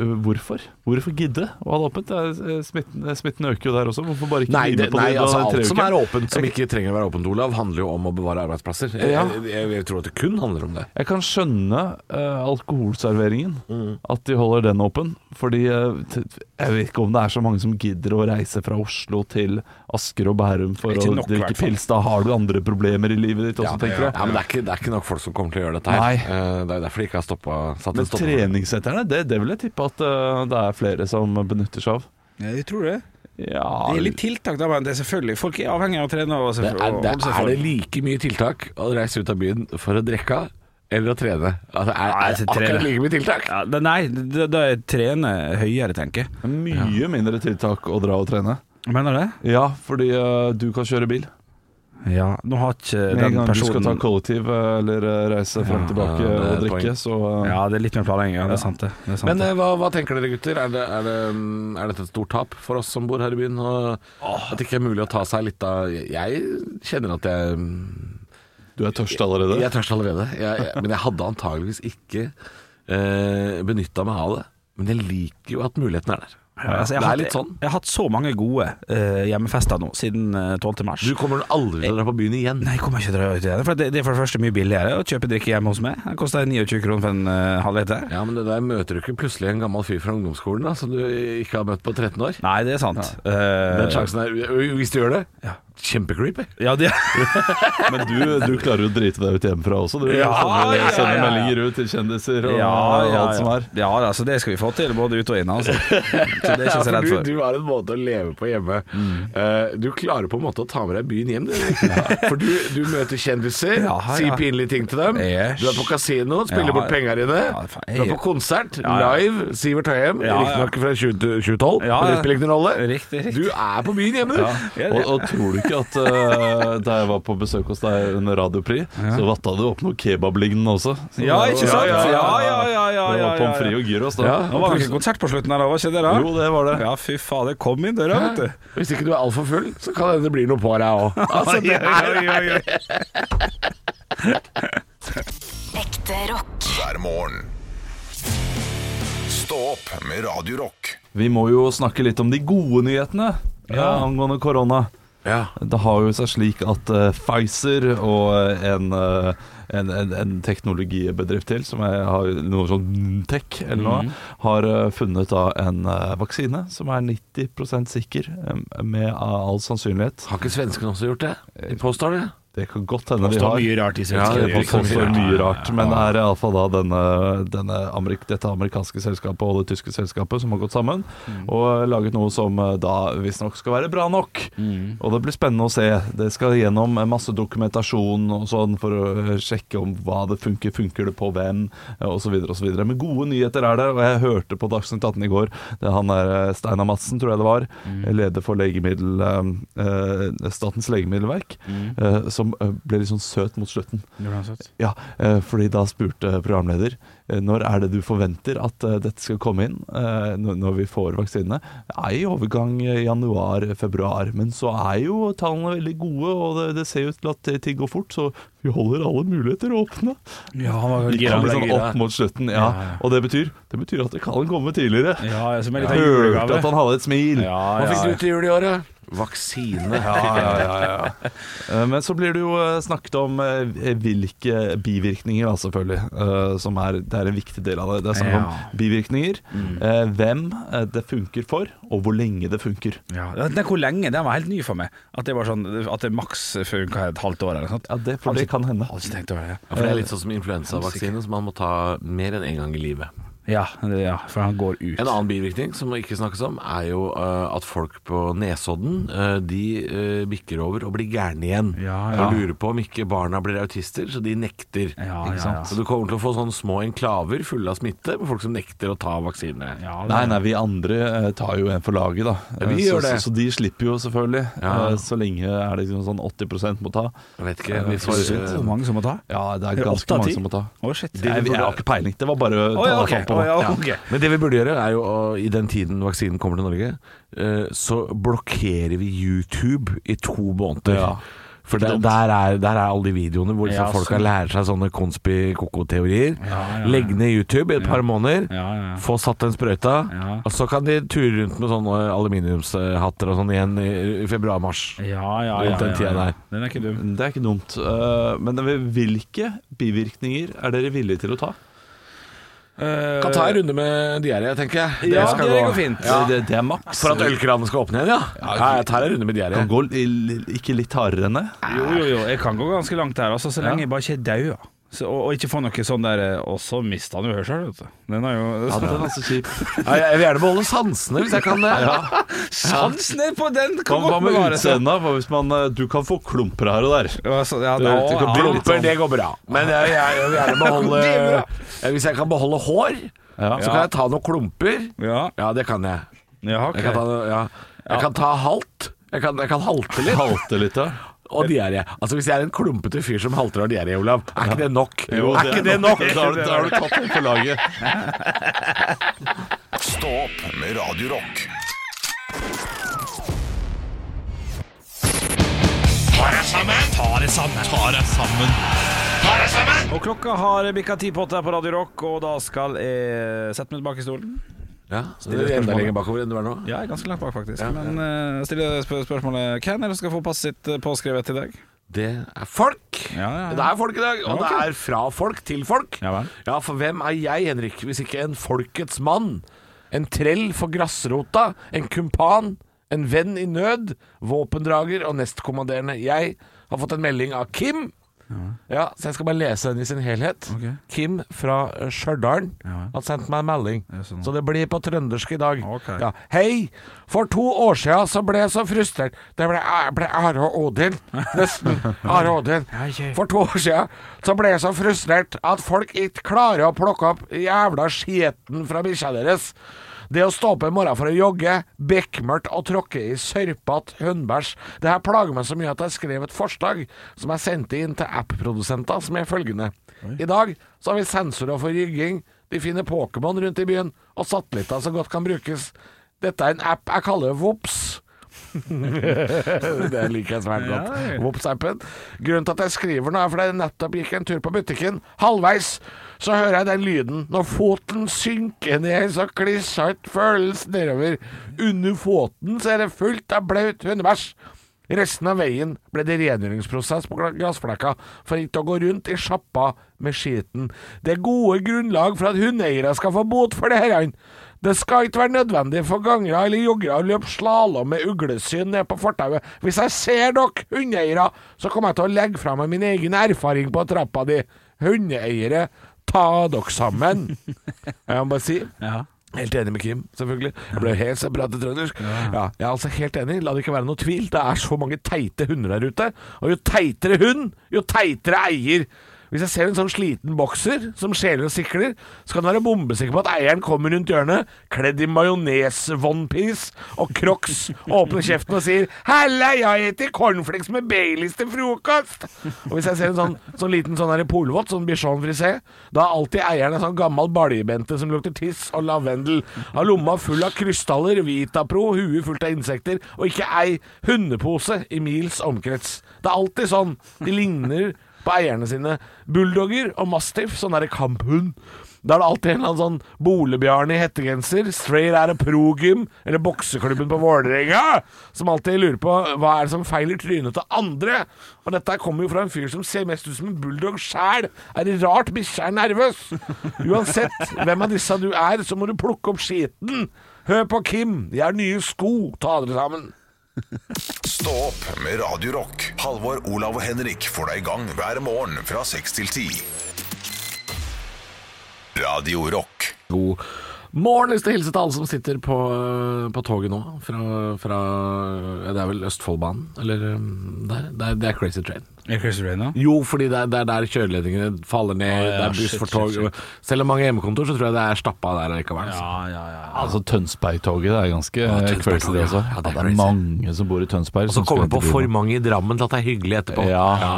Speaker 2: Hvorfor? Hvorfor gidde å ha det åpent? Det er, eh, Smitten, eh, smitten øker jo der også. Hvorfor bare ikke
Speaker 4: Nei,
Speaker 2: drive
Speaker 4: det,
Speaker 2: på
Speaker 4: nei
Speaker 2: det? da
Speaker 4: altså,
Speaker 2: i tre
Speaker 4: alt som
Speaker 2: uker?
Speaker 4: er åpent som ikke trenger å være åpent, Olav, handler jo om å bevare arbeidsplasser. Jeg,
Speaker 2: Ja.
Speaker 4: jeg, jeg tror at det kun handler om det.
Speaker 2: Jeg kan skjønne eh, alkoholserveringen,
Speaker 4: Mm.
Speaker 2: at de holder den åpen. Fordi eh, t- jeg vet ikke om det er så mange som gidder å reise fra Oslo til Asker og Bærum for
Speaker 3: Ikke
Speaker 2: å
Speaker 3: nok,
Speaker 2: drikke
Speaker 3: hvertfall.
Speaker 2: pils. Da har du andre problemer i livet ditt også,
Speaker 4: Ja,
Speaker 2: tenker jeg.
Speaker 4: ja, men det er, ikke, det er ikke nok folk som kommer til å gjøre dette her.
Speaker 2: Nei.
Speaker 4: Eh, Det er jo derfor de ikke har stoppa, satt en
Speaker 2: Men
Speaker 4: stopper. for det.
Speaker 2: treningssentrene, det, det vil jeg tippe at eh, det er flere som benytter seg av.
Speaker 3: Jeg tror det.
Speaker 2: Ja,
Speaker 3: Det er litt tiltak, da, men det er selvfølgelig Folk er avhengig av å trene. Og
Speaker 4: Det
Speaker 3: selvfølgelig-
Speaker 4: er,
Speaker 3: og
Speaker 4: det
Speaker 3: holde seg
Speaker 4: er det
Speaker 3: form.
Speaker 4: like mye tiltak å reise ut av byen for å drikke av eller å trene. Altså, er,
Speaker 3: Nei,
Speaker 4: er
Speaker 3: til
Speaker 4: det
Speaker 3: trene.
Speaker 4: akkurat like mye tiltak.
Speaker 3: ja, det, Nei, da- da er trene høyere, tenker jeg.
Speaker 2: mye mindre tiltak å dra og trene.
Speaker 3: Mener du det?
Speaker 2: Ja, fordi eh, du kan kjøre bil.
Speaker 3: Ja. Nå har ikke
Speaker 2: Med en
Speaker 3: den
Speaker 2: gang du skal ta
Speaker 3: personen
Speaker 2: kollektiv eh, eller eh, reise frem
Speaker 4: Ja,
Speaker 2: og tilbake
Speaker 4: det er
Speaker 2: og
Speaker 4: et
Speaker 2: drikke,
Speaker 4: poeng.
Speaker 2: så eh,
Speaker 3: Ja, det er litt mer planlegging. Ja, det er sant, det. det, er sant,
Speaker 4: Men
Speaker 3: det.
Speaker 4: eh, hva, hva tenker dere gutter? Er, det, er, det, mm, er dette et stort tap for oss som bor her i byen? Og at det ikke er mulig å ta seg litt av Jeg kjenner at jeg mm,
Speaker 2: Du er tørst allerede?
Speaker 4: Jeg er tørst allerede. Jeg, jeg, men jeg hadde antageligvis ikke eh, benytta meg av det. Men jeg liker jo at muligheten er der.
Speaker 3: Ja, altså, jeg,
Speaker 4: det
Speaker 3: har,
Speaker 4: er litt sånn.
Speaker 3: jeg har hatt så mange gode eh, hjemmefester nå siden eh, 12. mars.
Speaker 4: Du kommer aldri til å dra på byen igjen.
Speaker 3: Nei, jeg kommer ikke til å dra ut igjen. For det, det er for det første mye billigere å kjøpe drikke hjemme hos meg. Det koster 29 kroner for en eh, halvliter.
Speaker 4: Ja, men det der møter du ikke plutselig en gammel fyr fra ungdomsskolen da, som du ikke har møtt på 13 år.
Speaker 3: Nei, det er sant. Ja, Eh.
Speaker 4: Den sjansen er, Hvis du gjør det, kjempecreepy.
Speaker 3: ja, det,
Speaker 2: Men du, du klarer jo å drite deg ut hjemmefra også. Du
Speaker 3: Ja,
Speaker 2: sender,
Speaker 3: ja, ja,
Speaker 2: sender
Speaker 3: ja.
Speaker 2: meldinger ut til kjendiser
Speaker 3: [LAUGHS] ja,
Speaker 2: og
Speaker 3: ja,
Speaker 2: alt som
Speaker 3: ja.
Speaker 2: er.
Speaker 3: ja da, så det skal vi få til, både ute og inne. [LAUGHS] Altså. Så det er ikke så redd
Speaker 4: du,
Speaker 3: for. Mm.
Speaker 4: du har en måte å leve på hjemme. Eh, du klarer på en måte å ta med deg byen hjem. Du. For du, du møter kjendiser,
Speaker 3: Ja, ja.
Speaker 4: sier pinlige ting til dem.
Speaker 3: Yes.
Speaker 4: Du er på kasino, spiller
Speaker 3: Ja.
Speaker 4: bort penga dine.
Speaker 3: Ja, faen, jeg-
Speaker 4: Du er på konsert,
Speaker 3: ja.
Speaker 4: live, Sivert Høyem.
Speaker 3: Ja, ja.
Speaker 4: Riktignok fra 20
Speaker 3: Ja,
Speaker 4: 2012, men
Speaker 3: ja.
Speaker 4: det spiller ingen rolle.
Speaker 3: Riktig, riktig.
Speaker 4: Du er på byen hjemme, du.
Speaker 3: Ja,
Speaker 2: Og, og tror du ikke at eh, da jeg var på besøk hos deg under Radiopri, så vatta du opp noe kebablignende også? Så det
Speaker 3: Ja,
Speaker 2: var-
Speaker 3: ikke sant? Ja, ja, ja, ja,
Speaker 2: Det
Speaker 3: ja,
Speaker 2: var
Speaker 3: ja,
Speaker 2: pommes frites
Speaker 3: ja.
Speaker 2: og gyros, da.
Speaker 4: Ja.
Speaker 3: Nå var det ikke konsert på slutten her, da, var ikke det? da?
Speaker 2: Jo, det var det.
Speaker 3: Ja, fy fader. Kom inn døra, vet du.
Speaker 4: Hvis ikke du er altfor full, så kan det hende det blir noe på deg
Speaker 3: [LAUGHS]
Speaker 4: òg. Altså, det er
Speaker 3: Oi, oi, oi.
Speaker 5: Ekte rock.
Speaker 1: hver morgen. Stå opp med Radio Rock.
Speaker 2: Vi må jo snakke litt om de gode nyhetene eh, angående korona.
Speaker 4: ja.
Speaker 2: Det har jo seg slik at eh, Pfizer og eh, en, eh, en, en, en teknologibedrift til, som er, har noe sånn tech eller
Speaker 4: Mhm.
Speaker 2: noe, har eh, funnet da en eh, vaksine som er 90 sikker, eh, med av all sannsynlighet.
Speaker 4: Har ikke svenskene også gjort det? De påstår det.
Speaker 2: Det kan godt hende de
Speaker 4: Påstår
Speaker 2: har.
Speaker 4: mye rart i
Speaker 2: Ja,
Speaker 4: svenskene.
Speaker 2: det påstår
Speaker 4: Ja,
Speaker 2: mye
Speaker 4: ja,
Speaker 2: rart, men det er iallfall da denne, denne amerik dette amerikanske selskapet og det tyske selskapet som har gått sammen
Speaker 4: Mm.
Speaker 2: og laget noe som eh, da visstnok skal være bra nok.
Speaker 4: Mm.
Speaker 2: Og det blir spennende å se. Det skal gjennom eh, masse dokumentasjon og sånn for å eh, sjekke om hva det funker, funker det på hvem, eh, og så videre og så videre Men gode nyheter er det, og jeg hørte på Dagsnytt 18 i går, det er han der eh, Steinar Madsen, tror jeg det var,
Speaker 4: Mm.
Speaker 2: eh, leder for legemiddel, eh, eh, Statens legemiddelverk,
Speaker 4: Mm.
Speaker 2: eh, som eh, ble litt sånn søt mot slutten. Ja, eh, fordi da spurte programleder eh, når er det du forventer at eh, dette skal komme inn, eh, når når vi får vaksinene. Det er i overgang januar-februar, men så er jo tallene veldig gode, og det, det ser ut til at ting går fort, så vi holder alle muligheter åpne.
Speaker 3: Ja, han var
Speaker 2: Vi
Speaker 3: gira.
Speaker 2: kom
Speaker 3: Han ble
Speaker 2: liksom
Speaker 3: gira.
Speaker 2: opp mot slutten, ja. Og det betyr, det betyr at det kan komme tidligere.
Speaker 3: Ja, som en
Speaker 2: Jeg
Speaker 3: liten
Speaker 2: hørte
Speaker 3: julegave.
Speaker 2: at han hadde et smil.
Speaker 3: Ja,
Speaker 4: Hva
Speaker 3: ja, ja.
Speaker 4: fikk du til jul i året? Vaksine.
Speaker 2: [LAUGHS] Eh, Men så blir det jo eh, snakket om eh, hvilke bivirkninger, da, selvfølgelig. eh, Som er, det er en viktig del av det. Det er snakk
Speaker 3: Ja. Mm.
Speaker 2: om bivirkninger, eh, hvem eh, det funker for, og hvor lenge det funker.
Speaker 3: Ja, den der hvor lenge, den var helt ny for meg. At det var sånn At det maks funka et halvt år eller noe sånt.
Speaker 2: Ja, det, for
Speaker 3: Hadde
Speaker 2: det kan hende.
Speaker 3: Hadde ikke tenkt over det.
Speaker 4: Ja, for det er litt sånn som influensavaksine, som man må ta mer enn én en gang i livet.
Speaker 3: Ja, det, ja, for han går ut.
Speaker 4: En annen bivirkning som ikke snakkes om, er jo eh, at folk på Nesodden eh, de eh, bikker over og blir gærne igjen.
Speaker 3: Ja, ja.
Speaker 4: Og lurer på om ikke barna blir autister, så de nekter.
Speaker 3: Ja, ja,
Speaker 4: Ikke sant?
Speaker 3: ja.
Speaker 4: Så du kommer til å få sånne små enklaver fulle av smitte med folk som nekter å ta vaksine.
Speaker 3: Ja, det-
Speaker 2: Nei, nei, vi andre eh, tar jo en for laget, da.
Speaker 4: Ja, vi
Speaker 2: Eh, så,
Speaker 4: gjør det.
Speaker 2: Så, så de slipper jo, selvfølgelig.
Speaker 4: Ja.
Speaker 2: Eh, Så lenge er det liksom sånn 80 må ta.
Speaker 4: Jeg vet ikke, vi får
Speaker 3: Så mange som må ta?
Speaker 2: Ja, det
Speaker 3: Er det
Speaker 2: er ganske
Speaker 3: åtte av
Speaker 2: mange
Speaker 3: ti?
Speaker 2: som må ta.
Speaker 3: Å, shit.
Speaker 2: Nei, jeg, jeg har ikke peiling. Det var bare
Speaker 3: Å, ja, ok,
Speaker 2: tall på
Speaker 3: ok, Å, ja, ok.
Speaker 4: Men det vi burde gjøre, er jo å, i den tiden vaksinen kommer til Norge, eh, så blokkerer vi YouTube i to måneder.
Speaker 2: Ja.
Speaker 4: For der, der, er, der er alle de videoene hvor
Speaker 3: Ja,
Speaker 4: ja, folka
Speaker 3: sånn.
Speaker 4: lærer seg sånne konspi-koko-teorier.
Speaker 3: Ja, ja, ja.
Speaker 4: Legg ned YouTube i et par måneder,
Speaker 3: Ja, ja, ja.
Speaker 4: få satt den sprøyta,
Speaker 3: Ja.
Speaker 4: og så kan de ture rundt med sånne aluminiumshatter og sånn igjen i, i februar-mars.
Speaker 3: Ja, ja, ja,
Speaker 4: Rundt den
Speaker 3: ja, ja.
Speaker 4: tida der.
Speaker 3: Den er ikke dum.
Speaker 2: Det er ikke dumt. eh, Men hvilke bivirkninger er dere villige til å ta?
Speaker 4: Kan ta en runde med diaré, tenker jeg.
Speaker 3: Eh, Ja,
Speaker 4: skal
Speaker 3: det
Speaker 4: gå.
Speaker 3: går fint.
Speaker 4: Ja.
Speaker 2: Det, det er maks.
Speaker 4: For at ølkranene skal åpne igjen, ja? ja jeg tar en runde med diaré.
Speaker 2: Kan gå i- ikke litt hardere enn det.
Speaker 3: Jo, jo, jo, jeg kan gå ganske langt der, altså, så lenge jeg bare ikke dauer. Så- Og, og ikke får noe sånn der eh, Og så mista han jo hørselen, vet du. Den er jo
Speaker 2: Ja, den er altså så kjip.
Speaker 4: Ja, jeg vil gjerne beholde sansene hvis jeg kan eh. det.
Speaker 3: Sansene på den
Speaker 2: Hva,
Speaker 3: kan
Speaker 2: hva
Speaker 3: godt
Speaker 2: med
Speaker 3: bevares. ja.
Speaker 2: utseendet? Hva hvis man eh, Du kan få klumper her og der.
Speaker 3: Ja, så- ja,
Speaker 2: Du
Speaker 3: da-
Speaker 2: vet, du kan
Speaker 3: ja,
Speaker 2: bli
Speaker 3: litt
Speaker 4: Klumper,
Speaker 3: sånn.
Speaker 4: det går bra. Men jeg, jeg, jeg vil gjerne beholde
Speaker 3: Det er bra.
Speaker 4: Ja, Hvis jeg kan beholde hår,
Speaker 2: Ja.
Speaker 4: så kan jeg ta noen klumper.
Speaker 3: sånn. Ja,
Speaker 4: Ja, det kan jeg.
Speaker 3: ja, ok.
Speaker 4: Jeg kan ta, noe- ja. jeg kan ta halt. Jeg kan, jeg kan halte litt.
Speaker 2: Halte litt, ja.
Speaker 4: Og diaré. Altså, hvis jeg er en klumpete fyr som halter og har diaré, Olav, er ikke det nok?
Speaker 2: Jo,
Speaker 4: er ikke det nok?
Speaker 2: Da har du- da har du tatt det på laget.
Speaker 1: Stå opp med Radio Rock.
Speaker 3: Og klokka har bikka ti på åtte her på Radio Rock, og da skal jeg sette meg tilbake i stolen.
Speaker 4: Ja, så det er enda lenger bakover enn du er nå.
Speaker 3: Ja, jeg er ganske langt bak, faktisk. Men eh, stille spør spørsmålet hvem er det som skal få passet sitt eh, påskrevet i dag?
Speaker 4: Det er folk.
Speaker 3: Ja, ja, ja.
Speaker 4: Det er folk i dag, og
Speaker 3: Ja, ok.
Speaker 4: det er fra folk til folk.
Speaker 3: Ja vel.
Speaker 4: Ja, for hvem er jeg, Henrik, hvis ikke en folkets mann? En trell for grasrota, en kumpan, en venn i nød, våpendrager og nestkommanderende. Jeg har fått en melding av Kim. Ja, så jeg skal bare lese den i sin helhet.
Speaker 3: Ok.
Speaker 4: Kim fra eh, Stjørdal har sendt meg en melding,
Speaker 3: sånn.
Speaker 4: så det blir på trøndersk i dag.
Speaker 3: Ok.
Speaker 4: Ja. Hei! For to år siden så ble jeg så frustrert. Det ble, jeg ble Are og Odin. Nesten. Are og Odin. For to år siden så ble jeg så frustrert at folk ikke klarer å plukke opp jævla skiten fra bikkja deres. Det å stå opp en morgen for å jogge, bekmørkt og tråkke i sørpete hundbæsj, det her plager meg så mye at jeg skrev et forslag som jeg sendte inn til app-produsenter, som er følgende. I dag så har vi sensorer for rygging, de finner Pokémon rundt i byen, og satellitter så godt kan brukes. Dette er en app jeg kaller Vops. [LAUGHS] det liker jeg svært godt. Vops-appen. Grunnen til at jeg skriver nå, er fordi jeg nettopp gikk en tur på butikken. Halvveis så hører jeg den lyden. Når foten synker ned, så klissete føles nedover. Under foten så er det fullt av blaut hundebæsj. Resten av veien ble det rengjøringsprosess på gressflekka for ikke å gå rundt i sjappa med skiten. Det er gode grunnlag for at hundeeiere skal få bot for det her. Det skal ikke være nødvendig for gangere eller joggere å løpe slalåm med uglesyn ned på fortauet. Hvis jeg ser dere hundeeiere, så kommer jeg til å legge fra meg min egen erfaring på trappa di. Hundeeiere, ta dere sammen. Jeg må bare si
Speaker 3: Ja.
Speaker 4: Helt enig med Kim, selvfølgelig. Jeg ble helt separat til trøndersk. Ja, jeg er altså helt enig. La det ikke være noe tvil. Det er så mange teite hunder der ute. Og jo teitere hund, jo teitere eier. Hvis jeg ser en sånn sliten bokser som skjeler og sikler, så kan du være bombesikker på at eieren kommer rundt hjørnet, kledd i majones-onepiece og crocs, og åpner kjeften og sier 'Halla, jeg heter cornflakes med Baileys til frokost'. Og hvis jeg ser en sånn, sånn liten sånn her i polvott, sånn bichon frisé, da er alltid eieren en sånn gammel baljebente som lukter tiss og lavendel. Har lomma full av krystaller, Vitapro, huet fullt av insekter, og ikke ei hundepose i mils omkrets. Det er alltid sånn. De ligner på eierne sine. Bulldogger og mastiff, sånn derre kamphund. Da er det alltid en eller annen sånn Bolebjarn i hettegenser, straight out of pro-gym, eller bokseklubben på Vålerenga, som alltid lurer på hva er det som feiler trynet til andre. Og dette her kommer jo fra en fyr som ser mest ut som en bulldog sjæl. Er det rart bikkja er nervøs? Uansett hvem av disse du er, så må du plukke opp skiten. Hør på Kim, jeg har nye sko, ta dere sammen.
Speaker 1: Stå opp med Radio Rock. Halvor, Olav og Henrik får deg i gang hver morgen fra 6 til 10. Radio Rock.
Speaker 4: God morgen. Lyst til å hilse til alle som sitter på, på toget nå fra, fra ja, Det er vel Østfoldbanen, eller um, der. Det er, det er Crazy Train.
Speaker 3: Er det Chris Rain nå?
Speaker 4: Jo, fordi det er, det er der kjøreledningene faller ned, det er buss
Speaker 3: shit,
Speaker 4: for tog.
Speaker 3: shit,
Speaker 4: Selv om mange hjemmekontor, så tror jeg det er stappa der likevel. altså.
Speaker 3: Ja, ja, ja.
Speaker 2: Altså Tønsbergtoget det er ganske
Speaker 4: Tønsbergtoget,
Speaker 2: crazy, det også.
Speaker 4: ja. Ja, det er
Speaker 2: det er
Speaker 4: crazy.
Speaker 2: mange som bor i Tønsberg.
Speaker 4: Og så
Speaker 2: som
Speaker 4: kommer
Speaker 2: skal
Speaker 4: på
Speaker 2: til
Speaker 4: for
Speaker 2: byen.
Speaker 4: mange i Drammen til at det er hyggelig etterpå.
Speaker 2: Ja.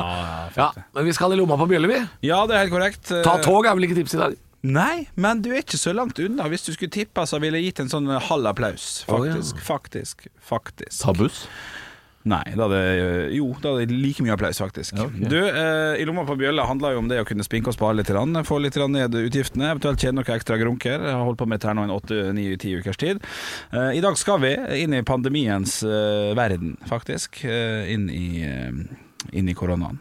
Speaker 4: ja, Men vi skal i lomma på bjølle, vi.
Speaker 3: ja, det er helt korrekt. Eh,
Speaker 4: Ta tog er vel ikke tipset i dag.
Speaker 3: Nei, men du er ikke så langt unna. Hvis du skulle tippa, så ville jeg gitt en sånn halv applaus. Faktisk, faktisk, faktisk.
Speaker 2: Ta buss.
Speaker 3: Nei, da hadde jeg- eh, jo, da hadde jeg like mye applaus, faktisk.
Speaker 2: ok.
Speaker 3: Du, eh, I lomma på bjølla handler jo om det å kunne spinke og spare litt, grann, få litt grann ned utgiftene, eventuelt tjene noen ekstra grunker. Jeg har holdt på med dette her nå en åtte-ni-ti ukers tid. Eh, I dag skal vi inn i pandemiens eh, verden, faktisk. Eh, inn, i, eh, inn i koronaen.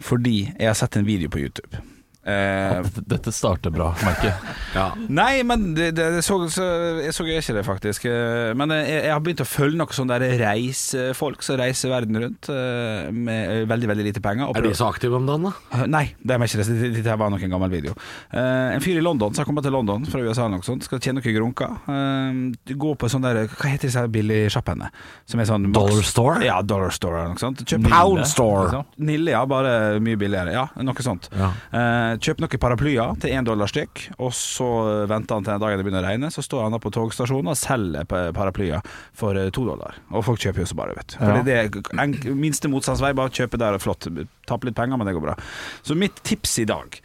Speaker 3: Fordi jeg har sett en video på YouTube. Eh,
Speaker 2: Dette starter bra, merker jeg.
Speaker 3: Nei, men det, det, det så, så, jeg så ikke det, faktisk. Eh, Men jeg, jeg har begynt å følge noen sånne der reisefolk som reiser verden rundt eh, med eh, veldig veldig lite penger. og
Speaker 6: Er de
Speaker 3: prøver- Eh,
Speaker 6: så aktive om dagen, da?
Speaker 3: Nei, det er ikke det. Dette- Dette her var nok en gammel video. Eh, en fyr i London som har kommet til London fra USA, eller noe sånt, skal tjene noen grunker. Eh, du går på sånn der Hva heter disse her billigsjappene? Som er sånn maks-
Speaker 6: Dollar store?
Speaker 3: Ja, Dollar Store eller noe sånt. Kjøp
Speaker 2: Nille,
Speaker 3: Pound
Speaker 2: liksom.
Speaker 3: Store. Nille, ja. Bare mye billigere. Ja, noe sånt.
Speaker 6: Ja.
Speaker 3: Eh, kjøp noen paraplyer til én dollar stykk, og så eh, venter han til den dagen det begynner å regne. Så står han da på togstasjonen og selger pa- paraplyer for eh, to dollar. Og folk kjøper jo så bare, vet du. Fordi det er enk, minste motstandsvei, bare kjøpe der, flott. Tape litt penger, men det går bra. Så mitt tips i dag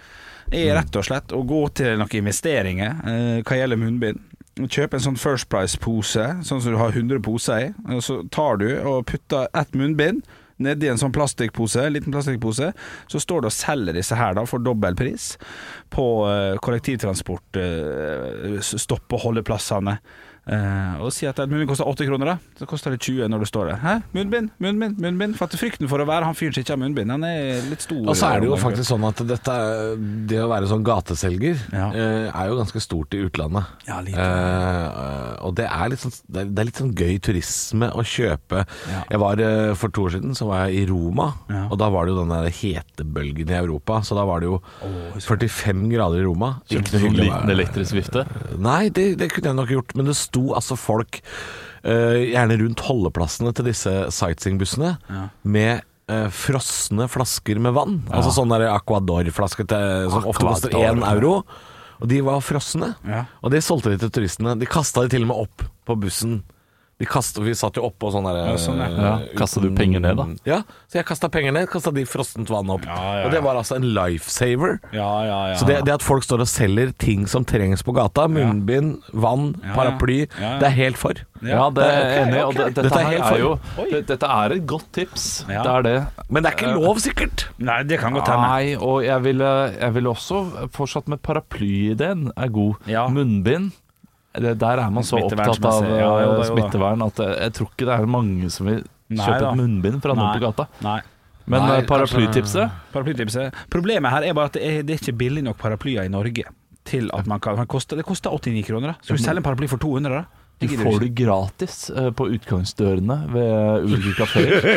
Speaker 3: er rett og slett å gå til noen investeringer eh, hva gjelder munnbind. Kjøp en sånn First Price-pose, sånn som du har 100 poser i. og Så tar du og putter ett munnbind nedi en sånn plastikkpose, en liten plastikkpose. Så står du og selger disse her da for dobbel pris på eh, kollektivtransport, eh, s- stopp- og holdeplassene. Eh, og si at et munnbind koster 8 kroner, da. Så koster det 20 når du står der. Hæ? Munnbind, munnbind, munnbind. For at frykten for å være han fyren som ikke har munnbind, han er litt stor.
Speaker 6: Og så er det jo faktisk sånn at dette, er- det å være sånn gateselger
Speaker 3: Ja.
Speaker 6: eh, er jo ganske stort i utlandet.
Speaker 3: Ja, lite.
Speaker 6: Eh, og det er, litt sånn, det er- det er litt sånn gøy turisme å kjøpe.
Speaker 3: Ja.
Speaker 6: Jeg var eh, For to år siden så var jeg i Roma,
Speaker 3: Ja.
Speaker 6: og da var det jo den der hetebølgen i Europa. Så da var det jo 45 grader i Roma. Ikke
Speaker 2: Kjøpte
Speaker 6: noe
Speaker 2: sånn
Speaker 6: hyggelig å
Speaker 2: liten
Speaker 6: være-
Speaker 2: elektrisk vifte.
Speaker 6: Nei, det, det kunne jeg nok gjort, men det sto altså folk eh, gjerne rundt holdeplassene til disse sightseeingbussene med eh, frosne flasker med vann. Altså sånne der Aquador-flasker til- som ofte koster
Speaker 2: Aquador,
Speaker 6: én
Speaker 2: ja.
Speaker 6: euro. Og de var frosne,
Speaker 3: Ja.
Speaker 6: og det solgte de til turistene. De kasta de til og med opp på bussen. De kastet, vi satt jo oppå sånn derre
Speaker 3: Ja, sånn, ja.
Speaker 2: Ja, kastet du penger ned, da?
Speaker 6: Ja, så jeg kasta penger ned, kasta de frossent vann opp.
Speaker 3: Ja, ja, ja.
Speaker 6: Og det var altså en lifesaver.
Speaker 3: Ja, ja, ja.
Speaker 6: Så det, det at folk står og selger ting som trengs på gata, munnbind, vann,
Speaker 3: Ja, ja.
Speaker 6: paraply,
Speaker 3: Ja, ja.
Speaker 6: det er helt for.
Speaker 2: Ja, det er jeg enig. i, Og det, dette,
Speaker 6: Dette er
Speaker 2: her
Speaker 6: helt
Speaker 2: er
Speaker 6: for-
Speaker 2: jo det, Dette er et godt tips.
Speaker 3: Ja.
Speaker 2: Det er det.
Speaker 6: Men det er ikke lov, sikkert.
Speaker 3: Nei, det kan godt hende.
Speaker 2: Nei, og jeg ville, jeg ville også fortsatt med paraplyideen er god.
Speaker 3: Ja.
Speaker 2: Munnbind. Det, der er man så opptatt av
Speaker 3: Smittevernmessig. Ja, jo da, jo da.
Speaker 2: eh, smittevern at jeg, jeg tror ikke det er mange som vil
Speaker 3: Nei
Speaker 2: kjøpe
Speaker 3: da.
Speaker 2: et munnbind fra noen på gata.
Speaker 3: Nei.
Speaker 2: Men
Speaker 6: Nei,
Speaker 2: eh, paraplytipset
Speaker 3: Paraplytipset. Problemet her er bare at det er, det er ikke billig nok paraplyer i Norge til at man kan man koster, Det koster 89 kroner. da Skal du selge en paraply for 200, da?
Speaker 2: du
Speaker 3: gidder
Speaker 2: får
Speaker 3: ikke.
Speaker 2: det gratis eh, på utgangsdørene ved ulike kafeer.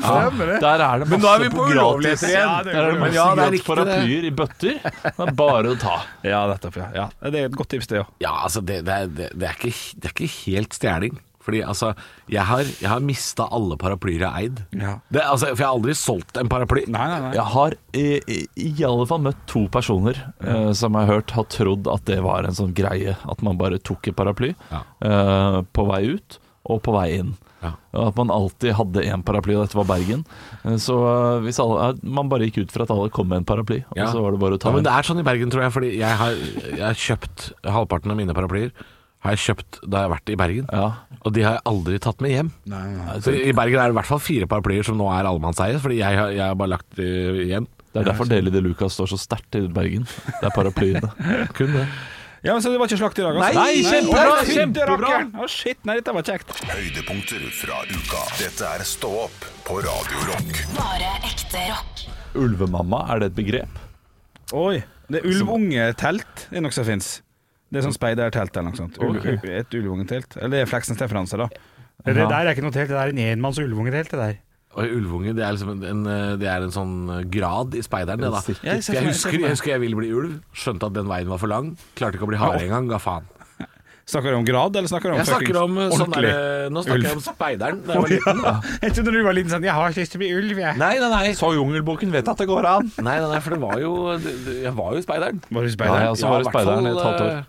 Speaker 2: Der er det masse
Speaker 6: nå er vi på
Speaker 2: gratis.
Speaker 6: ulovligheter igjen.
Speaker 2: Ja, Der er det masse
Speaker 6: Ja, det er
Speaker 2: gratis
Speaker 6: riktig, det.
Speaker 2: paraplyer i bøtter. Det er bare å ta.
Speaker 3: Ja, nettopp. Ja. ja. Det er et godt tips, det òg.
Speaker 6: Ja, altså, det, det, er- det, det, er, ikke, det er ikke helt stjeling. Fordi altså, jeg har, jeg har mista alle paraplyer jeg har eid.
Speaker 3: Ja.
Speaker 6: Det, altså, for jeg har aldri solgt en paraply.
Speaker 3: Nei, nei, nei.
Speaker 2: Jeg har i, i, i alle fall møtt to personer eh, som jeg har hørt har trodd at det var en sånn greie. At man bare tok et paraply
Speaker 6: Ja.
Speaker 2: eh, på vei ut og på vei inn.
Speaker 6: Ja.
Speaker 2: Og At man alltid hadde én paraply, og dette var Bergen. Eh, Så eh, hvis alle, eh, man bare gikk ut fra at alle kom med en paraply,
Speaker 6: Ja.
Speaker 2: og så var det bare å ta
Speaker 6: ja, men
Speaker 2: en.
Speaker 6: Det er sånn i Bergen, tror jeg. Fordi jeg har, jeg har kjøpt halvparten av mine paraplyer har jeg kjøpt da jeg har vært i Bergen.
Speaker 2: Ja.
Speaker 6: Og de har jeg aldri tatt med hjem. Så I Bergen er det i hvert fall fire paraplyer som nå er allemannseie, fordi jeg, har- jeg har bare lagt det igjen.
Speaker 2: Det er derfor Deli de Lucas står så sterkt i Bergen. Det er paraplyene.
Speaker 6: [LAUGHS] Kun det.
Speaker 3: Ja, men Så det var ikke slakt i dag, altså?
Speaker 6: Nei, kjempebra,
Speaker 3: kjempebra! Å, shit, nei, dette var kjekt.
Speaker 1: Høydepunkter fra uka. Dette er Stå opp på Radio Rock.
Speaker 5: Bare ekte rock.
Speaker 2: Ulvemamma, er det et begrep?
Speaker 3: Oi. Det er ulvungetelt, det er noe som fins. Det er sånn speidertelt eller noe sånt. Ul Et ulvungetelt. Eller det er Fleksnes-referanse, da.
Speaker 4: Det der er ikke noe telt, det er en enmanns ulvungetelt, det der.
Speaker 6: Og ulvunge, det er liksom en, en, eh, det er en sånn grad i speideren, det da.
Speaker 2: Instinkt.
Speaker 3: Ja, jeg ser for
Speaker 6: Jeg
Speaker 3: meg- jeg ser
Speaker 6: husker,
Speaker 3: for meg.
Speaker 6: jeg husker jeg ville bli ulv, skjønte at den veien var for lang, klarte ikke å bli hare engang, ga faen.
Speaker 3: Snakker du om grad, eller snakker du om
Speaker 6: Jeg snakker om eh,
Speaker 3: fuckings
Speaker 6: sånn
Speaker 3: ordentlig?
Speaker 6: der, eh, Nå snakker jeg om speideren. Da jeg var liten.
Speaker 4: Jeg trodde du var liten sånn 'jeg har ikke lyst til å bli ulv', jeg.
Speaker 6: Nei, nei, nei.
Speaker 2: Så Jungelboken vet at det går an!
Speaker 6: Nei, nei, nei, for det var jo det- det- Jeg var jo speideren.
Speaker 3: Var du
Speaker 2: Ja,
Speaker 3: speider?
Speaker 2: ja, så var det
Speaker 6: i hvert fall,
Speaker 2: speideren i et halvt år.
Speaker 6: eh,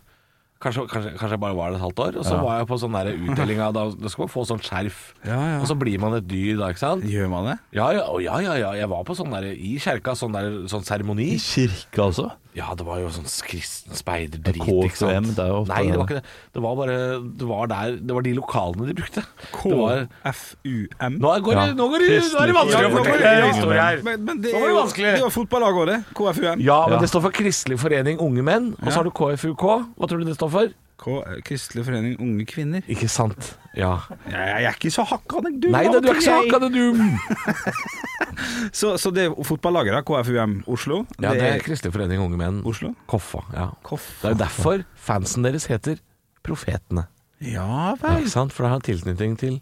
Speaker 6: Kanskje, kanskje, kanskje jeg bare var det et halvt år. Og så var jeg på sånn der utdeling av da, da skal man få sånn skjerf.
Speaker 3: Ja, ja.
Speaker 6: Og så blir man et dyr da, ikke sant?
Speaker 3: Gjør man det?
Speaker 6: Ja, ja, å, ja, ja, ja. Jeg var på sånn der i kjerka, sånn der sånn seremoni.
Speaker 2: I altså? kirka også?
Speaker 6: Ja, det var jo sånn kristen speiderdrit,
Speaker 2: KFUM,
Speaker 6: ikke sant?
Speaker 2: det er jo ofte
Speaker 6: Nei, det
Speaker 2: det.
Speaker 6: var ikke det. Det var bare Det var der Det var de lokalene de brukte. Det var,
Speaker 3: KFUM.
Speaker 6: nå går det, nå går det, nå er det vanskelig å fortelle
Speaker 3: Ja,
Speaker 6: historier her.
Speaker 3: Men, men det
Speaker 6: Nå var
Speaker 3: er
Speaker 6: det
Speaker 3: jo,
Speaker 6: vanskelig.
Speaker 3: det er jo fotballag òg, det. KFUM.
Speaker 6: Ja, men
Speaker 2: Ja.
Speaker 6: det står for Kristelig forening unge menn, og så har du KFUK. Hva tror du det står for?
Speaker 3: K eh, Kristelig forening unge kvinner.
Speaker 6: Ikke sant. Ja.
Speaker 3: Jeg, jeg er ikke så hakkande dum.
Speaker 6: Nei
Speaker 3: av
Speaker 6: da,
Speaker 3: og
Speaker 6: du er ikke
Speaker 3: til,
Speaker 6: så
Speaker 3: jeg.
Speaker 6: hakkande dum.
Speaker 3: Så, så det er fotballaget, da. KFUM Oslo.
Speaker 6: Ja, det er Kristelig forening unge menn.
Speaker 3: Oslo?
Speaker 6: Koffa. ja Det
Speaker 3: Koffa.
Speaker 6: er jo derfor fansen deres heter Profetene.
Speaker 3: Ja
Speaker 6: Ja,
Speaker 3: vel.
Speaker 6: ikke sant? For det har tilknytning til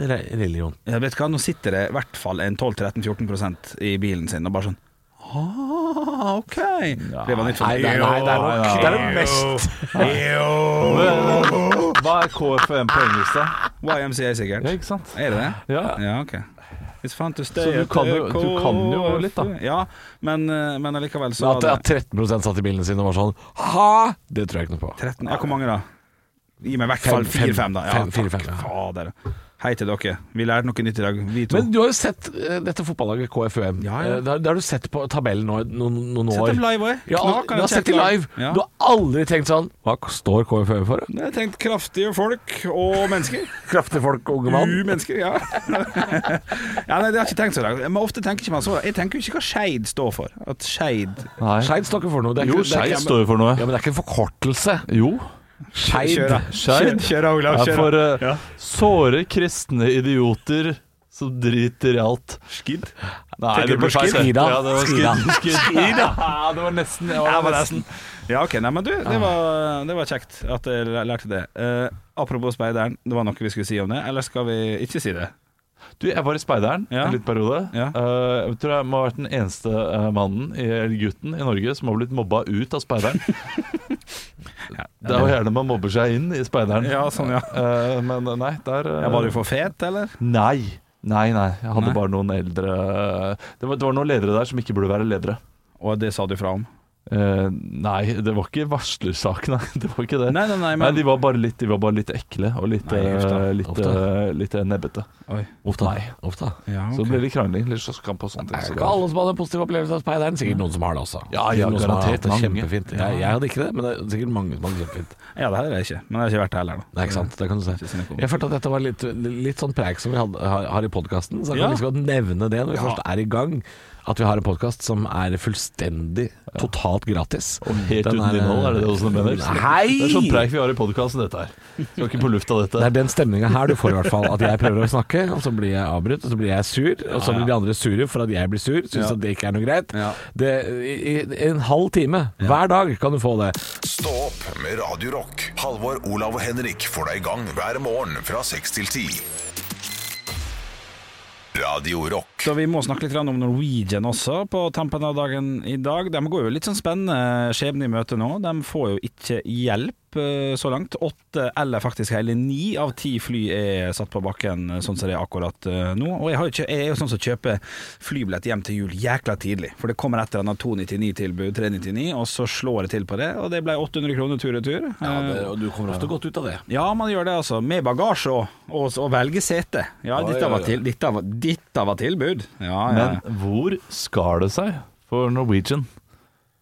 Speaker 6: det re- religion.
Speaker 3: Jeg vet hva, Nå sitter det i hvert fall en 12-13-14 i bilen sin og bare sånn Ah, OK. Det var nytt for
Speaker 6: Nei, nei,
Speaker 3: meg.
Speaker 6: nei, det er nok det er det
Speaker 7: Jo.
Speaker 6: mest
Speaker 7: Jo.
Speaker 2: Hva er KFUM på engelsk, da?
Speaker 3: YMCA, sikkert.
Speaker 2: Ja, ikke sant?
Speaker 3: Er det det?
Speaker 2: Ja.
Speaker 3: Ja, ok It's fun to stay
Speaker 2: Så du
Speaker 3: at
Speaker 2: kan jo-
Speaker 3: the
Speaker 2: du kan jo
Speaker 3: Coffee.
Speaker 2: litt, da.
Speaker 3: Ja, men, eh, men allikevel så
Speaker 6: Men at,
Speaker 3: var
Speaker 6: at 13 satt i bilene sine og var sånn Ha! Det tror jeg ikke noe på.
Speaker 3: 13 Ja, hvor mange da? Gi meg i hvert
Speaker 6: Fem,
Speaker 3: fall
Speaker 6: fem.
Speaker 3: 4-5 da ja,
Speaker 6: Fem, fire, fem,
Speaker 3: takk,
Speaker 6: ja.
Speaker 3: fader. Hei til dere Vi lærte noe nytt i dag Vi to
Speaker 6: Men du har jo sett eh, dette fotballaget KFUM.
Speaker 3: Ja, ja.
Speaker 6: Eh, Det, har, det har du sett på tabellen nå i noen, noen
Speaker 3: Sett
Speaker 6: år.
Speaker 3: dem live også
Speaker 6: Ja,
Speaker 3: Knakende
Speaker 6: du har sett
Speaker 3: kjekt
Speaker 6: dem live.
Speaker 3: ja.
Speaker 6: Du har aldri tenkt sånn Hva står KFUM for?
Speaker 3: Jeg har tenkt kraftige folk og
Speaker 6: [LAUGHS]
Speaker 3: mennesker
Speaker 6: Kraftige folk, unge mann.
Speaker 3: U-mennesker, ja. [LAUGHS] ja nei, det har jeg ikke tenkt så langt. Men ofte tenker ikke man så langt. Jeg tenker jo ikke hva Skeid står for. At Skeid
Speaker 2: Nei.
Speaker 6: Skeid står ikke for noe. Det er
Speaker 2: Jo,
Speaker 6: ikke- det er
Speaker 2: Skeid
Speaker 6: ikke-
Speaker 2: står jo for noe.
Speaker 6: Ja, Men det er ikke en forkortelse.
Speaker 2: Jo.
Speaker 6: Skeid.
Speaker 3: Kjør da.
Speaker 2: Skeid
Speaker 7: Kjør da, Olav.
Speaker 2: er
Speaker 7: Kjør.
Speaker 2: for eh,
Speaker 7: Ja.
Speaker 2: såre kristne idioter som driter i alt.
Speaker 3: Skid?
Speaker 2: Nei,
Speaker 6: Tenker du på
Speaker 2: feil.
Speaker 6: Skida?
Speaker 2: Ja, det var
Speaker 6: [LAUGHS] Skida.
Speaker 2: skid. skid. Ja, det var nesten. Det var nesten. Ah.
Speaker 3: Ja, ok. Nei, men du, det var, det var kjekt at jeg læ- lærte det. Eh, apropos speideren, det var noe vi skulle si om det, eller skal vi ikke si det?
Speaker 2: Du, jeg var i Speideren
Speaker 3: Ja.
Speaker 2: en liten periode.
Speaker 3: Ja.
Speaker 2: Eh, jeg tror jeg må ha vært den eneste eh, mannen, i- eller gutten, i Norge som har blitt mobba ut av Speideren.
Speaker 6: [LAUGHS]
Speaker 2: det er jo gjerne man mobber seg inn i Speideren.
Speaker 3: Ja, sånn, ja.
Speaker 2: Eh, men nei, der eh,
Speaker 3: ja var du for fet, eller?
Speaker 2: Nei. Nei, nei. Jeg hadde
Speaker 3: Nei.
Speaker 2: bare noen eldre eh, det var, det var noen ledere der som ikke burde være ledere.
Speaker 3: Og det sa du fra om.
Speaker 2: Eh, nei, det var ikke varslersaken, nei. [LAUGHS] Det var ikke det.
Speaker 3: Nei, nei, nei,
Speaker 2: Nei,
Speaker 3: men
Speaker 2: de var bare litt, de var bare litt ekle og litt,
Speaker 3: Nei, uff da.
Speaker 2: eh, litt,
Speaker 6: Uff da.
Speaker 2: eh, litt eh, nebbete.
Speaker 3: Oi.
Speaker 2: Uff da. Nei.
Speaker 6: Ofte.
Speaker 3: Ja,
Speaker 2: Så det
Speaker 3: ok.
Speaker 2: ble litt krangling, litt slåsskamp og sånne ting.
Speaker 6: Det er
Speaker 2: så
Speaker 6: ikke alle som hadde en positiv opplevelse av speideren. Sikkert noen som har det også.
Speaker 2: Ja,
Speaker 6: Sikkert
Speaker 2: ja,
Speaker 6: noen som har
Speaker 2: garantert
Speaker 6: hatt det
Speaker 2: mange.
Speaker 6: kjempefint. Jeg, jeg hadde ikke det, men det er sikkert mange som hadde det kjempefint.
Speaker 3: Ja, det hadde jeg ikke. Men jeg har ikke vært der heller, da.
Speaker 6: Nei, ikke sant. Det kan du
Speaker 3: Ikke
Speaker 6: si.
Speaker 3: siden jeg kom.
Speaker 6: Jeg følte at dette var litt, litt sånn preik som vi hadde, har, har i podkasten, så jeg
Speaker 3: Ja.
Speaker 6: kan vi godt nevne det når vi først er i gang. At vi har en podkast som er fullstendig, totalt gratis.
Speaker 2: Helt
Speaker 6: Den
Speaker 2: uten innhold, er det det du mener?
Speaker 6: Nei!
Speaker 2: Det er sånn preik vi har i podkasten, dette her. Skal ikke på lufta,
Speaker 6: Det
Speaker 2: dette.
Speaker 6: er den stemninga her du får, i hvert fall. At jeg prøver å snakke, og så blir jeg avbrutt, og så blir jeg sur. Og så blir de andre sure for at jeg blir sur, syns at det ikke er noe greit.
Speaker 3: Ja.
Speaker 6: Det, i, i, En halv time hver dag kan du få det.
Speaker 1: Stå opp med Radio Rock. Halvor, Olav og Henrik får deg i gang hver morgen fra 6 til 10. Radio Rock.
Speaker 3: Så vi må snakke litt grann om Norwegian også på tampen av dagen i dag. De går jo litt sånn spennende skjebne i møte nå. De får jo ikke hjelp eh, så langt. Åtte eller faktisk hele ni av ti fly er satt på bakken eh, sånn som det er akkurat eh, nå. Og jeg, har jo kjø jeg er jo sånn som kjøper flybillett hjem til jul jækla tidlig. For det kommer et eller annet 299-tilbud, 399, og så slår det til på det. Og det ble 800 kroner tur-retur. Eh,
Speaker 6: og du kommer ofte godt ut av det.
Speaker 3: Ja, man gjør det altså. Med bagasje og, og, og velge sete. Ja, dette var, til, dette var, dette var tilbud. Ja, ja.
Speaker 2: Men hvor skar det seg for Norwegian?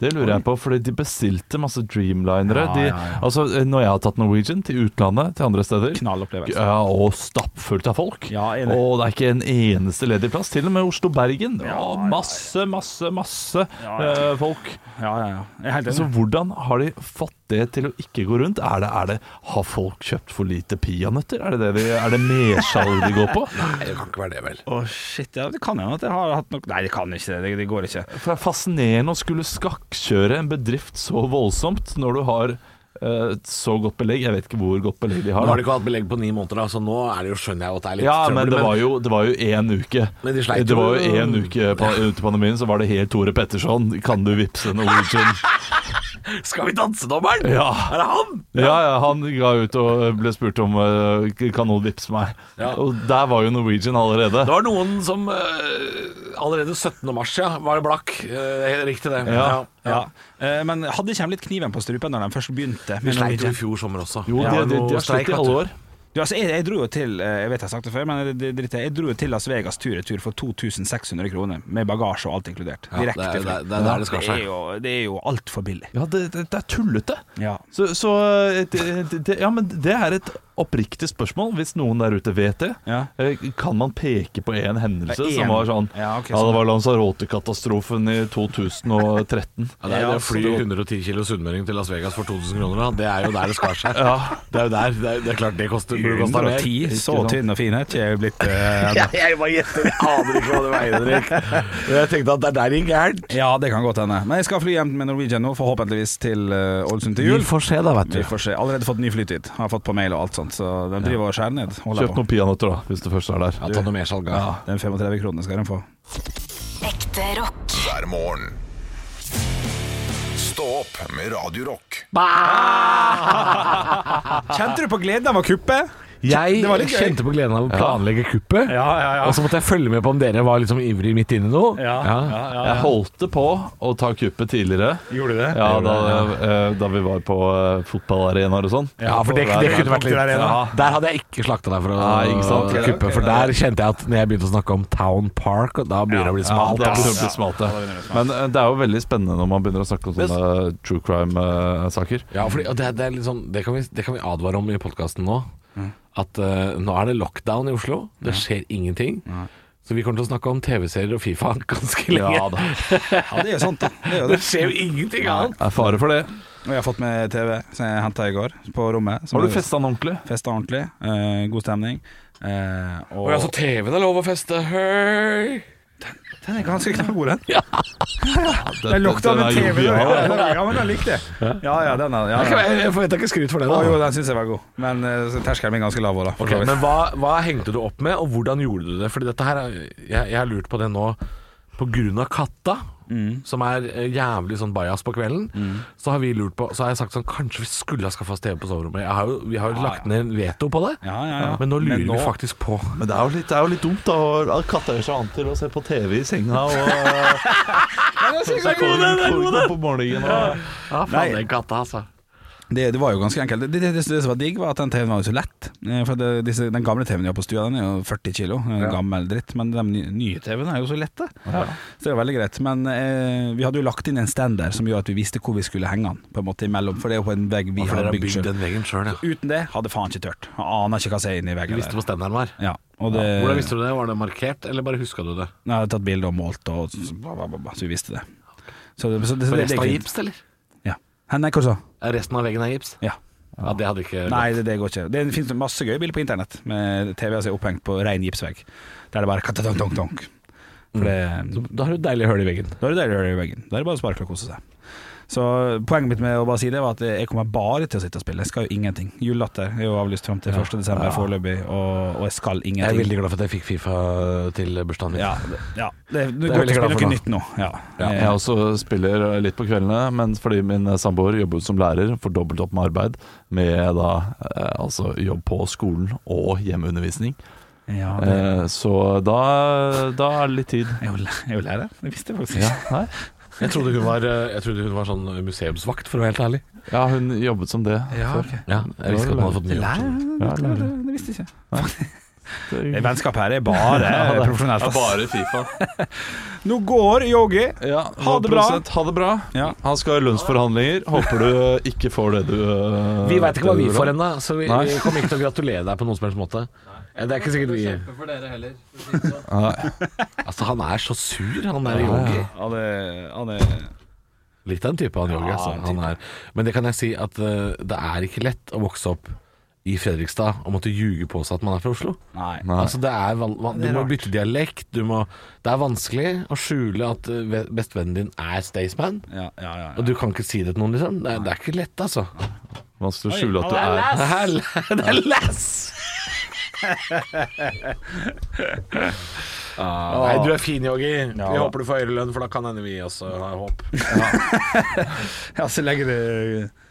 Speaker 2: Det lurer jeg på, fordi de bestilte masse dreamlinere.
Speaker 3: Ja,
Speaker 2: De,
Speaker 3: ja, ja.
Speaker 2: Altså, når jeg har tatt Norwegian til utlandet, til andre steder
Speaker 3: Knallopplevelse.
Speaker 2: ja, og stappfullt av folk.
Speaker 3: altså. Ja, enig.
Speaker 2: og det er ikke en eneste ledig plass. Til og med Oslo-Bergen. Ja, masse, masse, masse
Speaker 3: Ja, ja.
Speaker 2: eh, folk.
Speaker 3: Ja, ja, ja. Jeg er helt
Speaker 2: Så
Speaker 3: enig.
Speaker 2: hvordan har de fått det til å ikke gå rundt? Er det, er det, har folk kjøpt for lite peanøtter? Er det, det, de- er det mersalg de
Speaker 3: [LAUGHS]
Speaker 2: går på?
Speaker 6: Nei, det kan ikke være det, vel.
Speaker 3: Å, shit. Ja, det kan hende at jeg har hatt nok Nei, det kan ikke det. Det, det går ikke.
Speaker 2: For det er fascinerende å skulle skakkjøre en bedrift så voldsomt når du har eh, et så godt belegg. Jeg vet ikke hvor godt belegg de
Speaker 6: Nå
Speaker 2: har.
Speaker 6: har de
Speaker 2: da.
Speaker 6: ikke hatt belegg på ni måneder, da, så nå er det jo, skjønner jeg jo at det er litt
Speaker 2: Ja, men
Speaker 6: trøbbel.
Speaker 2: det var jo, det var jo én uke.
Speaker 6: Men de sleit
Speaker 2: det var
Speaker 6: jo.
Speaker 2: jo én uke pa- ut i pandemien, så var det helt Tore Petterson. Kan du vippse
Speaker 6: [LAUGHS]
Speaker 2: Norwegian?
Speaker 6: Skal vi danse, dommeren?
Speaker 2: Ja.
Speaker 6: Er det han?
Speaker 2: Ja, ja, han ga ut og ble spurt om eh, Kan noen vippse meg.
Speaker 6: Ja.
Speaker 2: Og der var jo Norwegian allerede.
Speaker 6: Det var noen som eh, allerede 17. mars, ja. Var det blakk? Eh, Riktig det.
Speaker 2: Ja.
Speaker 3: Ja. Eh, Men hadde ikke de litt kniven på strupen når de først begynte?
Speaker 6: Vi
Speaker 3: med
Speaker 6: sleit jo
Speaker 3: Norwegian?
Speaker 6: i fjor sommer også.
Speaker 2: Jo,
Speaker 6: Det
Speaker 2: de,
Speaker 6: var
Speaker 2: de,
Speaker 6: noe
Speaker 2: de har
Speaker 6: streik,
Speaker 2: slitt i
Speaker 6: vet du.
Speaker 2: alle år.
Speaker 3: Du, altså, jeg, jeg dro jo til eh, Jeg vet jeg har sagt det før, men det- det driter jeg Jeg dro jo til Las Vegas tur-retur for 2600 kroner, med bagasje og alt inkludert.
Speaker 6: Ja,
Speaker 3: Direkte
Speaker 6: det er-
Speaker 3: fly.
Speaker 6: det er- det er der det skar seg.
Speaker 3: er jo, det er jo altfor billig.
Speaker 2: Ja, det, det, det er tullete.
Speaker 3: Ja.
Speaker 2: Så, så eh, det, det, ja, men det er et oppriktig spørsmål, hvis noen der ute vet det.
Speaker 3: Ja.
Speaker 2: Eh, Kan man peke på én hendelse
Speaker 3: Det er en.
Speaker 2: som var sånn
Speaker 3: Ja, ok,
Speaker 2: Ja, det
Speaker 3: sånn.
Speaker 2: var Lanzarote-katastrofen i 2013.
Speaker 6: Ja, det er jo det å fly 110 kilo sunnmøring til Las Vegas for 2000 kroner, da. Det er jo der det skar seg. Det er jo der. Det er, det er klart det koster burde kosta mer.
Speaker 3: 110, så
Speaker 2: sant.
Speaker 3: tynn og fin er ikke jeg blitt eh,
Speaker 6: Ja, jeg bare gjetter. Jeg aner ikke hva det veier, Henrik. Men jeg tenkte at det er der det gikk gærent.
Speaker 3: Ja, det kan godt hende. Men jeg skal fly hjem med Norwegian nå, forhåpentligvis til eh, Ålesund til
Speaker 6: Vi
Speaker 3: jul.
Speaker 6: får se, da, vet
Speaker 3: Vi får se. Allerede fått ny flytid. Har fått på mail og alt sånt, så den driver og skjærer ned. Holder
Speaker 2: Kjøp
Speaker 3: på.
Speaker 2: noen peanøtter, da, hvis du først er der.
Speaker 6: Ja, ta noe mer salg,
Speaker 3: Ja,
Speaker 6: da.
Speaker 3: den 35 kronene skal den få.
Speaker 5: Ekte rock.
Speaker 1: hver morgen. Stå opp med Radio Rock.
Speaker 3: Kjente du på gleden av å kuppe?
Speaker 6: Jeg
Speaker 3: Det var litt gøy.
Speaker 6: kjente på gleden av å planlegge kuppet.
Speaker 4: ja, ja.
Speaker 6: Og så måtte jeg følge med på om dere var liksom ivrig midt inne i noe.
Speaker 4: Ja, ja, ja,
Speaker 2: Jeg holdt det på å ta kuppet tidligere.
Speaker 4: Gjorde du det?
Speaker 2: Ja, da, eh, da vi var på eh, fotballarenaer og sånn.
Speaker 6: Ja, for det, det kunne vært litt
Speaker 4: Der igjen, da.
Speaker 6: Der hadde jeg ikke slakta deg for å
Speaker 2: Nei, ikke sant?
Speaker 6: for å kuppe. For der kjente jeg at når jeg begynte å snakke om Town Park, og da begynner det å bli
Speaker 2: Ja,
Speaker 6: smalt.
Speaker 2: da
Speaker 6: ass.
Speaker 2: begynner det å bli smalt, ja. Men eh, det er jo veldig spennende når man begynner å snakke om sånne eh, true eh, crime-saker.
Speaker 6: Ja, fordi, og det, det, er litt sånn, det, kan vi, det kan vi advare om i podkasten nå. At eh, nå er det lockdown i Oslo. Det skjer ingenting. Så vi kommer til å snakke om TV-serier og Fifa [LAUGHS] ganske lenge.
Speaker 3: Ja, det er jo sant, da. Det er jo
Speaker 6: det
Speaker 3: det. [LAUGHS]
Speaker 6: skjer jo ingenting annet.
Speaker 2: Det er fare for det.
Speaker 3: Og jeg har fått med TV, som jeg henta i går, på rommet. som
Speaker 2: Har du
Speaker 3: er-
Speaker 2: festa den ordentlig?
Speaker 3: Festa ordentlig. eh, god stemning. Eh, og
Speaker 6: Og altså, TV-en er lov å feste. Høy!
Speaker 3: den er ganske knallgod, den.
Speaker 2: Den,
Speaker 3: Jeg lukta
Speaker 2: den
Speaker 3: med
Speaker 2: er
Speaker 3: TV.
Speaker 2: jovial.
Speaker 3: Ja, ja, men jeg likte det. Ja, ja, den er ja,
Speaker 6: Jeg,
Speaker 3: ja.
Speaker 6: jeg forventa ikke skryt for det.
Speaker 3: Å, jo,
Speaker 6: da
Speaker 3: den syns jeg var god, men eh, så terskelen min er ganske lav òg, da. for
Speaker 6: Ok,
Speaker 3: så vidt.
Speaker 6: Men hva, hva hengte du opp med, og hvordan gjorde du det? Fordi dette her, er- jeg, jeg har lurt på det nå På grunn av katta,
Speaker 3: Mm.
Speaker 6: som er eh, jævlig sånn bajas på kvelden, så har vi lurt på Så har jeg sagt sånn Kanskje vi skulle ha skaffa oss TV på soverommet. Jeg har jo, vi har jo lagt ned veto på det,
Speaker 3: Ja, ja, ja.
Speaker 6: men nå lurer
Speaker 3: Men nå-
Speaker 6: vi faktisk på
Speaker 2: Men det er jo litt, det er jo litt dumt, da. å- At katta gjør seg vant til å se på TV i senga [LAUGHS] og Så kommer den på morgenen og
Speaker 6: Ja, faen, den katta, altså.
Speaker 3: Det, det var jo ganske enkelt. Det, det, det, det som var digg, var at den TV-en var jo så lett. Eh, For det, disse, Den gamle TV-en jeg har på stua, den er jo 40 kilo. En Gammel dritt. Men de nye, nye TV-ene er jo så lette. Så det var veldig greit. Men eh, vi hadde jo lagt inn en stander som gjør at vi visste hvor vi skulle henge den, på en måte imellom. For det er jo på en vegg vi
Speaker 6: For
Speaker 3: har
Speaker 6: dere har
Speaker 3: bygd
Speaker 6: bygd
Speaker 3: selv.
Speaker 6: den veggen sjøl, ja.
Speaker 3: Uten det hadde faen ikke tørt. Jeg aner ikke hva som er inni
Speaker 6: Du
Speaker 3: veggen
Speaker 6: visste
Speaker 3: der.
Speaker 6: hvor standarden var.
Speaker 3: Ja, og det,
Speaker 6: Hvordan visste du det? Var det markert, eller bare huska du det?
Speaker 3: Nei, Jeg hadde tatt bilde og målt, og, så- bla, bla, bla, bla, så vi visste det. Så, det- så, det- så det-
Speaker 6: Resten av
Speaker 3: det-
Speaker 6: gips, eller?
Speaker 3: Ja. Hæ, Nei, hva sa du?
Speaker 6: Er Resten av veggen er gips?
Speaker 3: Ja.
Speaker 6: Ja, det hadde ikke
Speaker 3: Nei, det, det går ikke. Det finnes masse gøye bilder på internett med TV-er som er opphengt på rein gipsvegg. Der det bare katatonk-tonk. For det,
Speaker 6: Mm. Da har du et deilig hull i veggen.
Speaker 3: da er det deilig å gjøre det i veggen. Da er det bare å sparke og kose seg. Så poenget mitt med å bare si det var at jeg kommer bare til å sitte og spille. Jeg skal jo ingenting. Julelatter er jo avlyst fram til 1. desember foreløpig, og, og jeg skal
Speaker 6: Jeg er
Speaker 3: ingenting.
Speaker 6: veldig glad for at jeg fikk Fifa til bursdagen min.
Speaker 3: Ja, det, ja. Det, du
Speaker 6: er jeg veldig
Speaker 3: kan ikke
Speaker 6: glad
Speaker 3: spille
Speaker 6: for da.
Speaker 3: noe nytt nå. Ja.
Speaker 2: Jeg også spiller litt på kveldene, men fordi min samboer jobber som lærer, får dobbelt opp med arbeid, med da eh, altså jobb på skolen og hjemmeundervisning,
Speaker 3: ja, det
Speaker 2: eh, så da, da er det litt tid.
Speaker 6: Eh.
Speaker 3: jeg er jo læ- jeg er jo lærer. Det visste jeg faktisk
Speaker 2: Ja,
Speaker 3: ikke.
Speaker 2: nei?
Speaker 6: Jeg, trodde hun var, jeg trodde hun var sånn museumsvakt, for å være helt ærlig.
Speaker 2: ja, hun jobbet som det. før.
Speaker 6: Ja, jeg visste ikke at hun hadde fått mye
Speaker 3: Lærer?
Speaker 6: oppsyn.
Speaker 2: Ja,
Speaker 3: Det,
Speaker 2: lærer.
Speaker 3: det visste jeg ikke. Det
Speaker 2: Det er-
Speaker 3: Vennskapet her
Speaker 6: [LAUGHS]
Speaker 3: er bare profesjonelt.
Speaker 2: Ja,
Speaker 3: ass.
Speaker 2: bare Fifa.
Speaker 3: Nå går Yogi.
Speaker 2: Ja,
Speaker 3: Ha det bra.
Speaker 2: prosent, Ha det bra.
Speaker 3: Ja.
Speaker 2: Han skal i lønnsforhandlinger. Håper du ikke får det du eh,
Speaker 6: Vi veit ikke hva
Speaker 2: det du
Speaker 6: vi
Speaker 2: vil
Speaker 6: får
Speaker 2: ha.
Speaker 6: ennå, så vi,
Speaker 2: Nei.
Speaker 6: vi kommer ikke til å gratulere deg på noen som helst måte. Ja, Det er ikke sikkert vi for sånn. dere heller. [LAUGHS] Altså, han er så sur, han der yogi.
Speaker 3: Han er, han er
Speaker 6: Litt av en type, han yogi. Altså.
Speaker 3: en
Speaker 6: Han er. Men det kan jeg si at eh, det er ikke lett å vokse opp i Fredrikstad og måtte ljuge på seg at man er fra Oslo.
Speaker 3: Nei.
Speaker 6: Altså det er, van- van- du må bytte dialekt. Du må, det er vanskelig å skjule at eh, ve- bestevennen din er Staysman.
Speaker 3: Ja, ja, ja,
Speaker 6: Og du kan ikke si det til noen, liksom. Det er, det er ikke lett, altså.
Speaker 2: Vanskelig å skjule at du er
Speaker 6: Det er, [LAUGHS] det er less! Nei, du er fin, Yogi. Vi håper Altså, du får høyere lønn, for da kan hende vi også ha håp.
Speaker 3: ja. ja så lenge det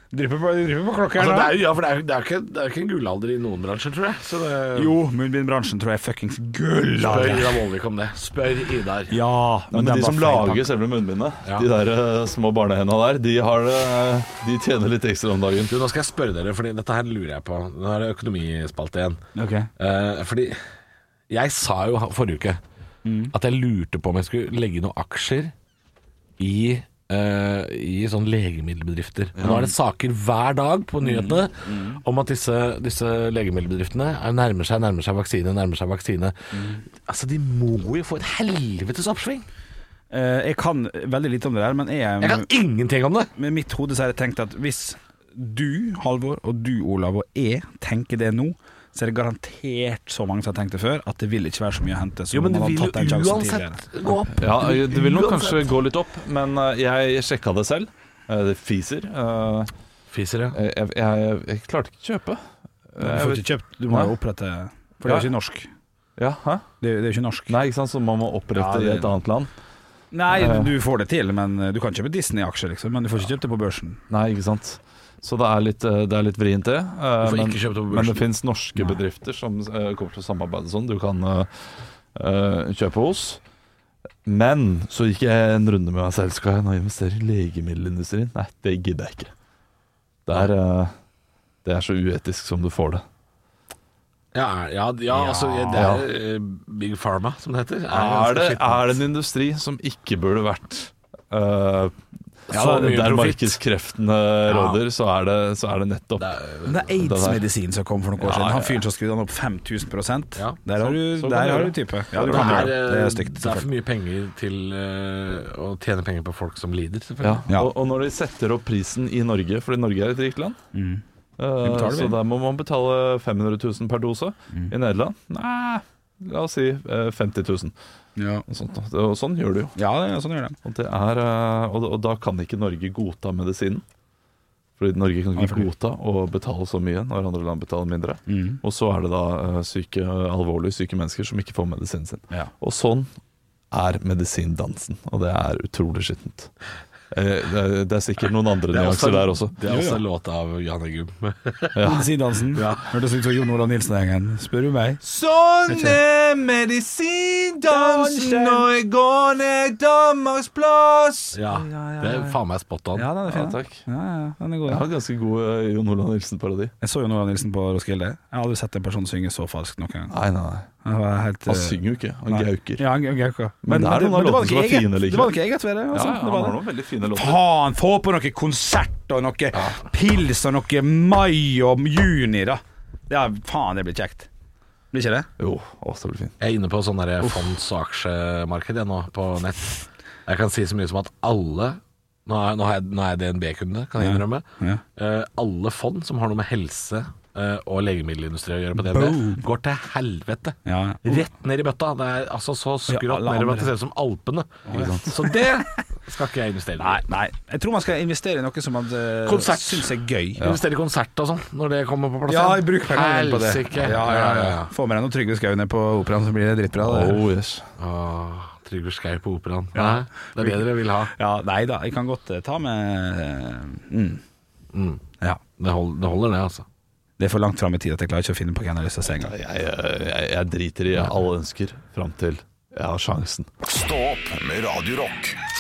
Speaker 8: Drypper på, drypper på klokka her
Speaker 6: Altså, det
Speaker 8: nå.
Speaker 6: er jo, ja, for det er, jo- det, er ikke, det er ikke en gullalder i noen bransjer, tror jeg. Så det,
Speaker 3: Jo, munnbindbransjen tror jeg er fuckings gull av
Speaker 6: spør
Speaker 3: det.
Speaker 6: Ida Vollvik om det. Spør Idar.
Speaker 3: Ja,
Speaker 2: Men,
Speaker 3: det er
Speaker 2: de
Speaker 3: bare
Speaker 2: som
Speaker 3: feil
Speaker 2: lager
Speaker 3: tanke.
Speaker 2: selve munnbindet,
Speaker 6: Ja.
Speaker 2: de der eh, små barnehenda der, de, har, det- de tjener litt ekstra om dagen.
Speaker 6: Du, nå skal jeg spørre dere, Fordi dette her lurer jeg på. Nå er det økonomispalte igjen.
Speaker 3: Ok.
Speaker 6: Eh, fordi jeg sa jo forrige uke at jeg lurte på om jeg skulle legge noen aksjer i eh, I sånne legemiddelbedrifter. Men Nå er det saker hver dag på nyhetene om at disse, disse legemiddelbedriftene er- nærmer seg, nærmer seg vaksine, nærmer seg vaksine. Altså, de må jo få et helvetes oppsving!
Speaker 3: Eh, jeg kan veldig lite om det der, men jeg,
Speaker 6: Jeg kan ingenting om det!
Speaker 3: med mitt hode så har jeg tenkt at hvis du, Halvor, og du, Olav, og jeg tenker det nå, så er det garantert så mange som har tenkt det før, at det vil ikke være så mye å hente. som
Speaker 6: Jo, men
Speaker 3: om
Speaker 6: det
Speaker 3: man
Speaker 6: vil
Speaker 3: har tatt den
Speaker 6: jo
Speaker 3: sjansen tidligere.
Speaker 6: uansett gå opp.
Speaker 2: Ja, eh, det vil nok
Speaker 6: Uansett.
Speaker 2: kanskje gå litt opp, men eh, jeg sjekka det selv. Eh, Det fiser. Eh,
Speaker 6: Fiser, ja.
Speaker 2: Jeg, jeg, jeg, jeg klarte ikke å kjøpe. Eh,
Speaker 3: Du
Speaker 2: Jeg
Speaker 3: får
Speaker 2: vet,
Speaker 3: ikke kjøpt, du må
Speaker 2: Hæ?
Speaker 3: jo opprette For det er jo ikke norsk.
Speaker 2: ja, hæ?
Speaker 3: Det er, det er jo ikke norsk.
Speaker 2: Nei, ikke sant, så man må opprette
Speaker 3: Ja, det-
Speaker 2: i et annet land.
Speaker 3: Nei, du får det til, men eh, du kan kjøpe Disney-aksjer, liksom. Men du får ikke kjøpt det på børsen.
Speaker 2: Nei, ikke sant. Så det er litt, eh, det er litt vrient, det. Eh,
Speaker 6: Du får
Speaker 2: Men,
Speaker 6: ikke kjøpt det på
Speaker 2: men det
Speaker 6: børsen.
Speaker 2: fins norske bedrifter som eh, kommer til å samarbeide sånn. Du kan eh, eh, kjøpe hos. Men så gikk jeg en runde med meg selv. Skal jeg nå investere i legemiddelindustrien? Nei, det gidder jeg ikke. Det er, eh, det er så uetisk som du får det.
Speaker 6: Ja, ja, ja, altså det er eh, Big Pharma, som det heter.
Speaker 2: Er det,
Speaker 6: ganske skittent.
Speaker 2: er det en industri som ikke burde vært eh,
Speaker 6: Ja,
Speaker 2: så
Speaker 6: det er mye
Speaker 2: Der
Speaker 6: profitt.
Speaker 2: markedskreftene råder, så, er det, så er det nettopp
Speaker 6: Det er-
Speaker 3: Det er aids-medisin som kom for noen år
Speaker 2: Ja,
Speaker 3: siden.
Speaker 2: ja,
Speaker 3: Han fyren som skrudde han opp 5000
Speaker 6: Ja,
Speaker 3: Der har du,
Speaker 2: så kan
Speaker 3: der
Speaker 2: du
Speaker 3: har
Speaker 2: gjøre.
Speaker 3: du type.
Speaker 6: Ja,
Speaker 3: Ja, du
Speaker 6: det,
Speaker 3: kan
Speaker 6: er, eh,
Speaker 3: gjøre det. det er stygt.
Speaker 6: det er for
Speaker 3: selvfølgelig.
Speaker 6: mye penger til eh, å tjene penger på folk som lider,
Speaker 2: Ja.
Speaker 6: selvfølgelig.
Speaker 3: Ja.
Speaker 2: Og, og når de setter opp prisen i Norge, fordi Norge er et rikt land eh,
Speaker 3: Mm. betaler Mm.
Speaker 2: Så
Speaker 3: vi.
Speaker 2: der må man betale 500 000 per dose. I Nederland nei, la oss si eh, 50 000.
Speaker 3: Ja.
Speaker 2: Og, sånt, da. og sånn gjør du jo.
Speaker 3: ja, det er sånn gjør det.
Speaker 2: Og, det er, eh, og, og da kan ikke Norge godta medisinen. Fordi Norge kan
Speaker 3: Nei,
Speaker 2: ikke
Speaker 3: fordi-
Speaker 2: godta å betale så mye når andre land betaler mindre.
Speaker 3: Mm.
Speaker 2: Og så er det da eh, syke, alvorlig syke mennesker som ikke får medisinen sin.
Speaker 3: Ja.
Speaker 2: Og sånn er medisindansen, og det er utrolig skittent. Eh, Det er, [LAUGHS] det er sikkert noen andre nyanser der også.
Speaker 6: Det er
Speaker 3: Jo, ja.
Speaker 6: også en låt av Jan Eggum. [LAUGHS]
Speaker 3: Sidansen.
Speaker 6: Ja.
Speaker 3: Hørtes ut som Jon Olav Nilsen-gjengen. Spør du meg?
Speaker 2: Sånn er medisindansen når jeg går ned Danmarksplass.
Speaker 6: Ja, det er faen meg spot on.
Speaker 3: Ja, den er
Speaker 2: Ja,
Speaker 3: fin. da.
Speaker 2: takk.
Speaker 3: Ja, ja, den er god.
Speaker 2: Jeg
Speaker 3: da.
Speaker 2: har ganske god eh, Jon Olav Nilsen-parodi.
Speaker 3: Jeg så Jon Olav Nilsen på Roskilde. Jeg har aldri sett en person synge så falskt noen gang.
Speaker 2: Nei, nei, nei.
Speaker 3: Han var helt,
Speaker 2: Han
Speaker 3: eh,
Speaker 2: synger jo ikke, han
Speaker 3: nei.
Speaker 2: gauker.
Speaker 3: Ja, han gauker.
Speaker 2: Men det er noen av
Speaker 3: det var
Speaker 2: låtene som
Speaker 3: nok
Speaker 2: er
Speaker 3: eget-
Speaker 2: fine likevel.
Speaker 3: Det var nok eget ved det.
Speaker 2: Ja,
Speaker 3: Altså.
Speaker 2: ja,
Speaker 3: det
Speaker 2: han
Speaker 3: var
Speaker 2: har
Speaker 3: det.
Speaker 2: noen veldig fine låter.
Speaker 3: Faen, få på noe konsert og noe pils og noe mai og juni, da. Ja, faen, det blir kjekt. Blir ikke det?
Speaker 2: Jo, å, så blir det fint.
Speaker 6: Jeg er inne på sånn der fonds- og aksjemarked jeg nå, på nett. Jeg kan si så mye som at alle Nå er, nå er jeg, nå er jeg DNB-kunde, kan jeg innrømme.
Speaker 3: Ja.
Speaker 6: Eh, alle fond som har noe med helse eh, og legemiddelindustri å gjøre på DNB, går til helvete.
Speaker 3: Ja.
Speaker 6: Rett ned i bøtta. Det er altså så
Speaker 3: Ja,
Speaker 6: skrått
Speaker 3: alle
Speaker 6: nedover at det
Speaker 3: andre.
Speaker 6: ser ut som Alpene. [LAUGHS] Så det skal ikke jeg investere i.
Speaker 3: Nei, nei. Jeg tror man skal investere i noe som man eh,
Speaker 6: Konsert.
Speaker 3: syns er gøy.
Speaker 6: Investere i konsert og sånn, når det kommer på plass.
Speaker 3: Ja,
Speaker 6: igjen.
Speaker 3: bruk pengene dine på det.
Speaker 6: Helsike.
Speaker 3: Ja, ja, ja. Få med deg noen Trygve Skau ned på operaen, så blir det dritbra. Det.
Speaker 2: Oh, yes.
Speaker 6: Åh, Trygve Skau på operaen.
Speaker 3: Ja.
Speaker 6: Nei, Det er det dere vil ha.
Speaker 3: Ja, nei da, jeg kan godt eh, ta med eh, mm.
Speaker 6: Mm.
Speaker 3: Ja.
Speaker 6: Det, hold, det holder, det, altså.
Speaker 3: Det er for langt fram i tid at jeg klarer ikke å finne på hva jeg har lyst til å se engang.
Speaker 2: Jeg, eh, jeg, jeg driter i alle ønsker fram til jeg har sjansen.
Speaker 1: Stå opp med Radio Rock.